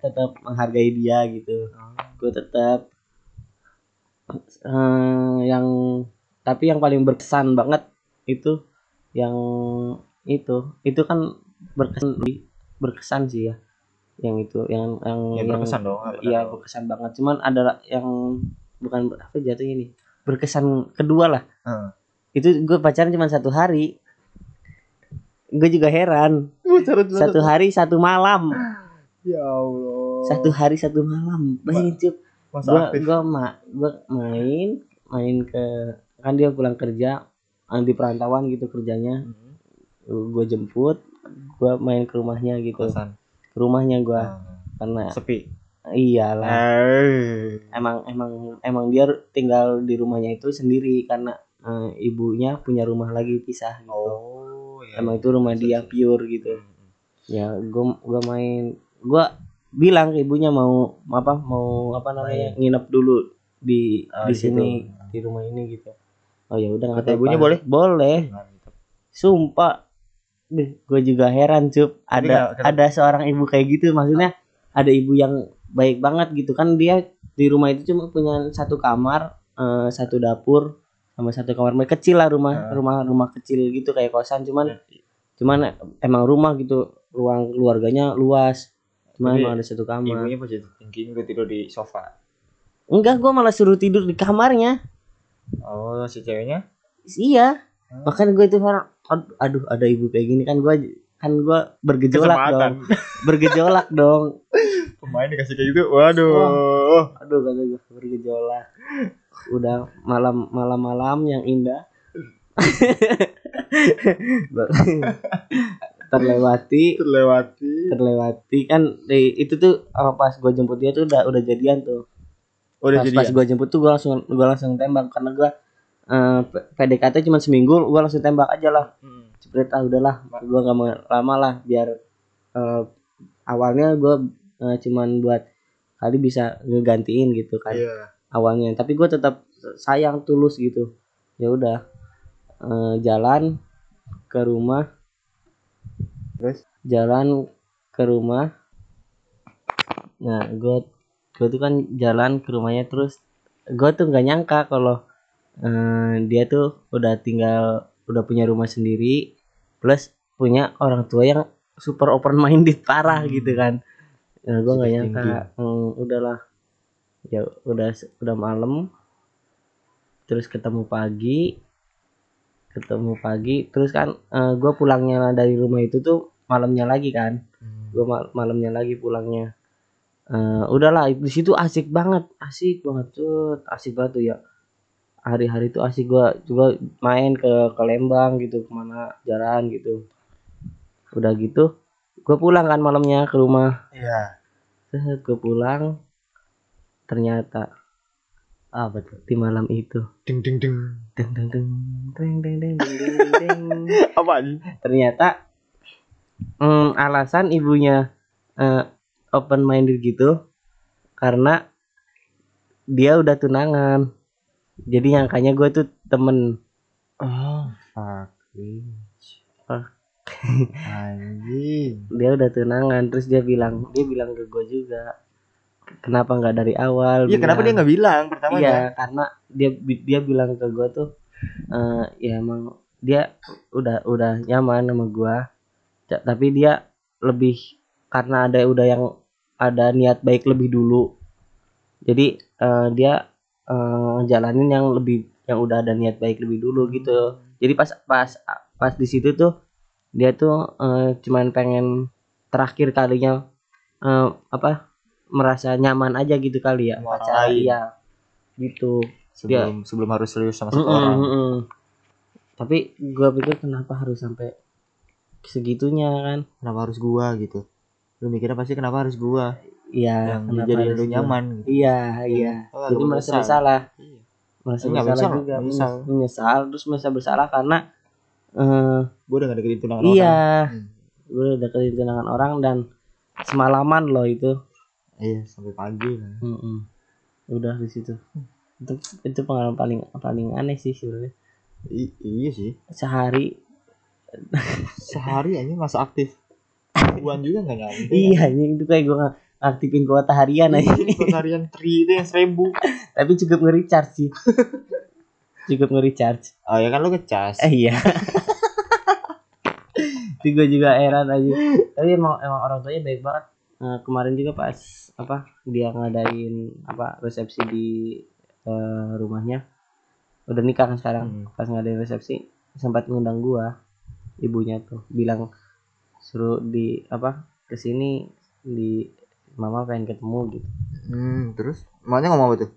Speaker 2: tetap menghargai dia gitu gue tetap eh, yang tapi yang paling berkesan banget itu yang itu itu kan berkesan berkesan sih ya yang itu yang yang
Speaker 3: Ya berkesan dong. apa
Speaker 2: iya
Speaker 3: dong.
Speaker 2: berkesan banget cuman ada yang bukan ber- apa jatuhnya nih berkesan kedua lah
Speaker 3: Heeh.
Speaker 2: itu gue pacaran cuma satu hari gue juga heran
Speaker 3: Bucaran dulu.
Speaker 2: satu hari satu malam
Speaker 3: Ya Allah.
Speaker 2: satu hari satu malam bayangin cuy
Speaker 3: Masa
Speaker 2: gua
Speaker 3: aktif.
Speaker 2: gua ma- gua main main ke kan dia pulang kerja eh, di perantauan gitu kerjanya
Speaker 1: Hmm,
Speaker 2: gua jemput gua main ke rumahnya gitu
Speaker 1: Pesan.
Speaker 2: ke rumahnya gua
Speaker 1: Hmm.
Speaker 2: karena
Speaker 3: sepi.
Speaker 2: iyalah
Speaker 3: Eh.
Speaker 2: emang emang emang dia tinggal di rumahnya itu sendiri karena eh, ibunya punya rumah lagi pisah gitu
Speaker 1: Oh iya.
Speaker 2: emang itu rumah
Speaker 1: Bisa
Speaker 2: dia
Speaker 1: sih.
Speaker 2: pure
Speaker 3: Hmm,
Speaker 2: gitu ya gua gua main gua bilang ke ibunya mau apa mau apa namanya nginep dulu di
Speaker 1: Ah,
Speaker 2: di
Speaker 1: di situ.
Speaker 2: sini di rumah ini gitu oh ya udah nggak
Speaker 1: Kata ibunya
Speaker 2: apa-apa.
Speaker 1: boleh?
Speaker 2: boleh
Speaker 3: Eh,
Speaker 2: sumpah gue juga heran cup
Speaker 1: Tapi
Speaker 2: ada
Speaker 1: nggak- kenapa?
Speaker 2: ada seorang ibu kayak gitu maksudnya ada ibu yang baik banget gitu kan dia di rumah itu cuma punya satu kamar eh, satu dapur sama satu kamar mandi kecil lah rumah
Speaker 1: Ah.
Speaker 2: rumah rumah kecil gitu kayak kosan cuman cuman emang rumah gitu ruang keluarganya luas cuman
Speaker 1: Tapi
Speaker 2: emang ada satu kamar
Speaker 1: Ibunya positif thinking gue tidur di sofa.
Speaker 2: enggak gua malah suruh tidur di kamarnya
Speaker 1: Oh si ceweknya?
Speaker 2: iya
Speaker 1: Hmm.
Speaker 2: makanya gue itu orang "Ad- aduh ada ibu kayak gini kan gua kan gua bergejolak dong
Speaker 3: Kesempatan.
Speaker 2: bergejolak dong
Speaker 3: Pemain dikasih kayak gitu. Waduh.
Speaker 2: aduh kata gua bergejolak udah malam malam malam yang indah terlewati
Speaker 3: Terlewati.
Speaker 2: terlewati kan di- itu tuh eh, pas gue jemput dia tuh udah udah jadian tuh
Speaker 3: Udah
Speaker 2: pas,
Speaker 3: jadi.
Speaker 2: pas gue jemput tuh gue langsung gue langsung tembak karena gue eh, P- PDKT cuma seminggu gue langsung tembak aja lah
Speaker 1: Hmm.
Speaker 2: cepet ah udahlah gue gak mau lama lah biar eh, awalnya gua eh, cuman buat kali bisa ngegantiin gitu kan
Speaker 3: Iya.
Speaker 2: awalnya tapi gue tetap sayang tulus gitu ya udah Eh, jalan ke rumah
Speaker 3: Terus?
Speaker 2: jalan ke rumah nah gue gue tuh kan jalan ke rumahnya terus gue tuh nggak nyangka kalau eh, dia tuh udah tinggal udah punya rumah sendiri plus punya orang tua yang super open minded parah
Speaker 3: Hmm.
Speaker 2: gitu kan nah, gue nggak
Speaker 3: Positive
Speaker 2: nyangka Hmm, udahlah ya udah udah malam terus ketemu pagi ketemu pagi terus kan gue pulangnya dari rumah itu tuh malamnya lagi kan gue malamnya lagi pulangnya Eh, udahlah di situ asik banget asik banget tuh asik banget tuh ya hari-hari tuh asik gua juga main ke ke Lembang gitu kemana jalan gitu udah gitu gue pulang kan malamnya ke rumah
Speaker 3: Iya.
Speaker 2: Set, gue pulang ternyata apa tuh di malam itu
Speaker 3: Ding ding ding.
Speaker 2: deng deng deng deng deng deng deng deng, deng, deng.
Speaker 3: Apaan?
Speaker 2: ternyata mm, alasan ibunya eh, open minded gitu karena dia udah tunangan jadi nyangkanya gue tuh temen
Speaker 3: Oh, fucking.
Speaker 2: Ah. Fuck.
Speaker 3: Anjing.
Speaker 2: dia udah tunangan terus dia bilang dia bilang ke gue juga kenapa nggak dari awal
Speaker 3: Iya, kenapa
Speaker 2: bilang.
Speaker 3: dia nggak bilang
Speaker 2: iya
Speaker 3: pertamanya?
Speaker 2: karena dia bi- dia bilang ke gue tuh eh ya emang dia udah udah nyaman sama gue tapi dia lebih karena ada udah yang ada niat baik lebih dulu jadi eh, dia eh, jalanin yang lebih yang udah ada niat baik lebih dulu gitu jadi pas pas pas di situ tuh dia tuh eh, cuman pengen terakhir kalinya eh, apa merasa nyaman aja gitu kali ya
Speaker 3: Sama orang
Speaker 2: pacaran
Speaker 3: lain.
Speaker 2: iya gitu
Speaker 3: Iya.
Speaker 1: sebelum sebelum harus serius sama
Speaker 2: Mm-mm,
Speaker 1: seseorang
Speaker 2: mm-mm. tapi gue pikir kenapa harus sampai segitunya kan
Speaker 3: Kenapa harus gua gitu? Lu mikirnya pasti kenapa harus gua
Speaker 2: iya
Speaker 3: yang
Speaker 2: kenapa
Speaker 3: jadi
Speaker 2: harus
Speaker 3: lu
Speaker 2: gua?
Speaker 3: nyaman gitu.
Speaker 2: iya iya
Speaker 3: Oh,
Speaker 2: jadi
Speaker 3: lu
Speaker 2: merasa
Speaker 3: menyesal.
Speaker 2: bersalah
Speaker 3: Iya.
Speaker 2: merasa
Speaker 3: Enggak,
Speaker 2: bersalah
Speaker 3: menyesal,
Speaker 2: juga
Speaker 3: menyesal.
Speaker 2: menyesal. menyesal terus merasa bersalah karena eh
Speaker 3: Gua udah gak deketin tunangan
Speaker 2: iya
Speaker 3: orang. Hmm.
Speaker 2: gue udah deketin tunangan orang dan semalaman loh itu
Speaker 3: Iya, sampai pagi lah.
Speaker 2: Mm-mm. udah di situ itu itu pengalaman paling paling aneh sih sebenarnya
Speaker 3: I- iya sih.
Speaker 2: sehari
Speaker 3: Sehari aja masa aktif. Buan juga gak nyampe. kan.
Speaker 2: iya nah, anjing, itu kayak gue aktifin kuota harian aja
Speaker 3: Harian tri itu yang seribu.
Speaker 2: tapi cukup nge-recharge sih cukup nge-recharge
Speaker 3: Oh ya kan lu ngecas.
Speaker 2: eh iya itu gue juga heran aja tapi emang emang orang tuanya baik banget Eh, kemarin juga pas apa dia ngadain apa resepsi di eh, rumahnya udah nikah kan sekarang
Speaker 3: Hmm.
Speaker 2: pas ngadain resepsi sempat ngundang gua ibunya tuh bilang suruh di apa kesini di mama pengen ketemu gitu
Speaker 3: Hmm, terus makanya ngomong apa tuh?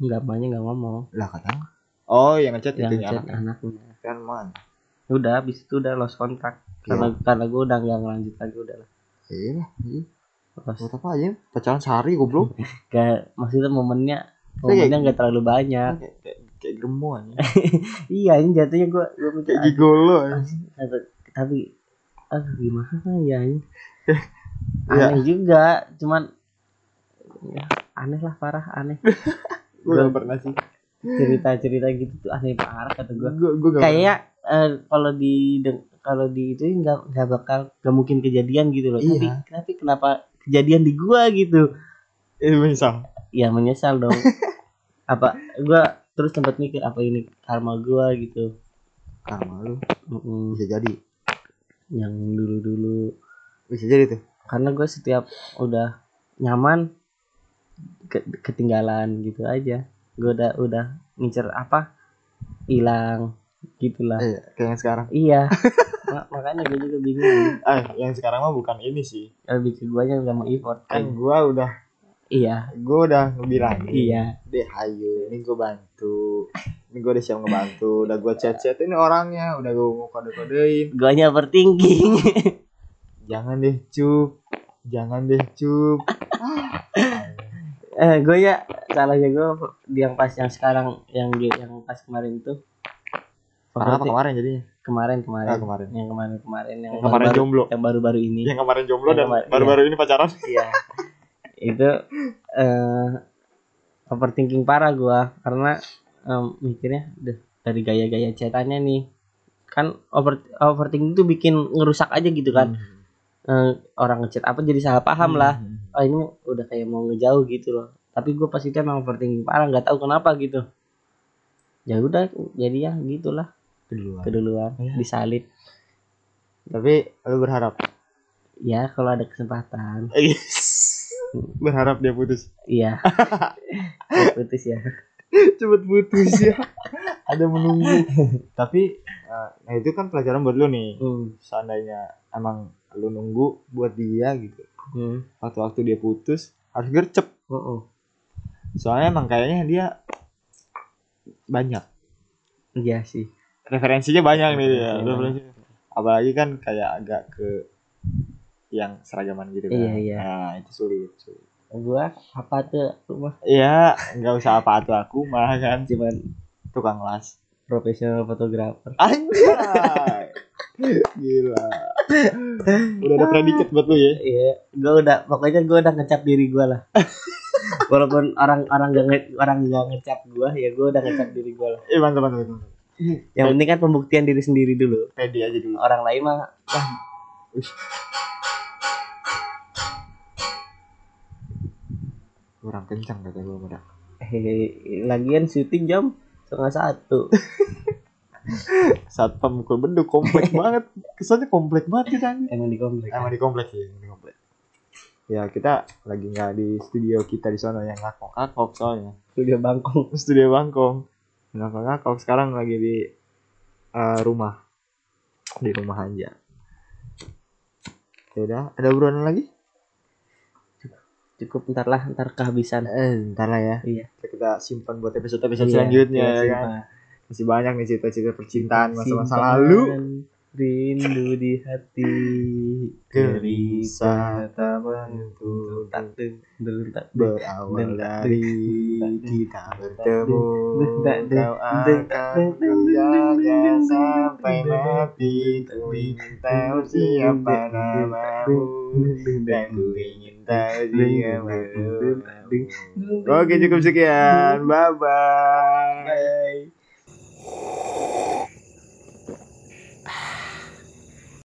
Speaker 2: nggak banyak nggak ngomong
Speaker 3: Lah katanya. Oh, yang ngechat
Speaker 2: yang
Speaker 3: itu ya.
Speaker 2: chat anaknya
Speaker 3: Kan man.
Speaker 2: udah habis itu udah lost kontak karena karena gue udah nggak ngelanjut lagi udah lah
Speaker 3: Iya, iya.
Speaker 2: lost
Speaker 3: Buat apa aja? Pacaran sehari goblok.
Speaker 2: Iya. gak maksudnya momennya
Speaker 3: Kayak-
Speaker 2: momennya nggak terlalu banyak
Speaker 3: kayak kayak, kayak germo aja.
Speaker 2: iya ini jatuhnya gue gue mikir
Speaker 3: kayak eh. gigolo. aja.
Speaker 2: "Ah, tapi- tapi aduh gimana ya ini
Speaker 3: Iya.
Speaker 2: aneh juga cuman ya, aneh lah parah aneh
Speaker 3: Gue gak pernah sih.
Speaker 2: cerita cerita gitu tuh aneh parah kata gue
Speaker 3: Gue gue gak pernah.
Speaker 2: kayak eh, kalau di deng- kalau di itu nggak nggak bakal nggak mungkin kejadian gitu loh
Speaker 3: Iya.
Speaker 2: tapi tapi kenapa kejadian di gua gitu
Speaker 3: Eh, misal.
Speaker 2: ya menyesal dong apa gua terus sempat mikir apa ini karma gua gitu
Speaker 3: Karma lu
Speaker 2: Mm-mm.
Speaker 3: bisa jadi.
Speaker 2: yang dulu dulu
Speaker 3: Bisa jadi tuh.
Speaker 2: karena gue setiap udah nyaman ke- ketinggalan gitu aja gue udah udah ngincer apa hilang gitulah
Speaker 3: Eh, kayak yang sekarang.
Speaker 2: iya Ma- makanya gue juga bingung
Speaker 3: Eh, yang sekarang mah bukan ini sih.
Speaker 2: lebih ke guanya nggak mau effort kan
Speaker 3: Kan Nah, gua udah
Speaker 2: iya
Speaker 3: gua udah ngebilangin.
Speaker 2: iya
Speaker 3: deh ayo ini gue bantu ini gue udah siap ngebantu udah gue chat chat ini orangnya udah gue mau kode kodein
Speaker 2: guanya overthinking
Speaker 3: jangan deh cup jangan deh cup
Speaker 2: eh guanya salahnya gue yang pas yang sekarang yang dia- yang pas kemarin tuh
Speaker 3: Parah apa
Speaker 2: Berarti
Speaker 3: kemarin jadinya?
Speaker 2: kemarin kemarin,
Speaker 3: Ah, kemarin.
Speaker 2: yang kemarin kemarin yang
Speaker 3: Yang kemarin Iya.
Speaker 2: baru,
Speaker 3: jomblo.
Speaker 2: yang baru-baru ini
Speaker 3: Yang kemarin jomblo
Speaker 2: Yang
Speaker 3: dan
Speaker 2: kemarin-
Speaker 3: baru-baru ini pacaran.
Speaker 2: Iya. itu eh overthinking parah gua karena em, mikirnya "Duh, dari gaya-gaya cetanya nih kan over overthinking itu bikin ngerusak aja gitu kan
Speaker 3: Hmm.
Speaker 2: Eh, orang ngechat apa jadi salah paham lah
Speaker 3: hmm.
Speaker 2: oh ini udah kayak mau ngejauh gitu loh tapi gue pas itu emang overthinking parah nggak tahu kenapa gitu ya udah jadi ya gitulah
Speaker 3: Kedua.
Speaker 2: keduluan
Speaker 3: Iya.
Speaker 2: disalib
Speaker 3: Tapi lu berharap.
Speaker 2: ya kalau ada kesempatan
Speaker 3: Iya. berharap dia putus.
Speaker 2: iya putus ya
Speaker 3: cepet putus ya ada menunggu tapi eh, nah itu kan pelajaran buat lu nih
Speaker 2: Hmm.
Speaker 3: seandainya emang lu nunggu buat dia gitu
Speaker 2: Hmm.
Speaker 3: waktu-waktu dia putus harus gercep
Speaker 2: Mm-mm.
Speaker 3: soalnya emang kayaknya dia banyak
Speaker 2: Iya sih.
Speaker 3: referensinya banyak nih dia
Speaker 2: Referensinya
Speaker 3: referensi apalagi kan kayak agak ke yang seragaman gitu kan
Speaker 2: Iya, iya.
Speaker 3: nah itu sulit, sulit.
Speaker 2: Gua apa tuh rumah
Speaker 3: ya nggak usah apa tuh aku mah kan
Speaker 2: cuman
Speaker 3: tukang las
Speaker 2: profesional fotografer.
Speaker 3: Anjay. Gila. Udah ada predikat buat lu ya.
Speaker 2: Iya, gua udah pokoknya gua udah ngecap diri gua lah. Walaupun orang-orang gak nge, orang gak ngecap gua, ya gua udah ngecap diri gua lah.
Speaker 3: Eh mantap mantap mantap.
Speaker 2: Yang penting kan pembuktian diri sendiri dulu.
Speaker 3: Pede aja dulu.
Speaker 2: Orang lain mah
Speaker 3: Kurang kencang kata gua udah.
Speaker 2: hehehe, lagian syuting jam setengah satu.
Speaker 3: Satpam mukul beduk komplek banget. Kesannya komplek banget kita. anjing.
Speaker 2: Emang di komplek.
Speaker 3: Emang di komplek sih, emang di komplek. Ya kita lagi nggak di studio kita di sana yang ngakok ngakok soalnya.
Speaker 2: Udah bangkong.
Speaker 3: Studio Bangkong. Ngakok ngakok sekarang lagi di eh, rumah. Di rumah aja. Ya udah, ada buruan lagi?
Speaker 2: Cukup ntar lah, ntar kehabisan.
Speaker 3: Eh, ntar lah ya.
Speaker 2: Iya.
Speaker 3: Kita simpan buat episode-episode
Speaker 2: Iya,
Speaker 3: selanjutnya
Speaker 2: iya,
Speaker 3: ya
Speaker 2: sumpah.
Speaker 3: kan. Masih banyak nih cerita-cerita percintaan masa-masa
Speaker 2: Simpan
Speaker 3: lalu.
Speaker 2: Rindu di hati
Speaker 3: Gelisah tak menentu
Speaker 2: Tak deng- deng- tak deng-
Speaker 3: berawal
Speaker 2: deng-
Speaker 3: dari
Speaker 2: deng-
Speaker 3: kita bertemu.
Speaker 2: deng- deng-
Speaker 3: Kau
Speaker 2: deng-
Speaker 3: akan
Speaker 2: deng-
Speaker 3: ku jaga
Speaker 2: deng-
Speaker 3: sampai
Speaker 2: deng-
Speaker 3: mati. Ku ingin tahu siapa namamu. Dan ku ingin tahu siapa namamu. Oke cukup sekian. Bye-bye.
Speaker 2: Bye.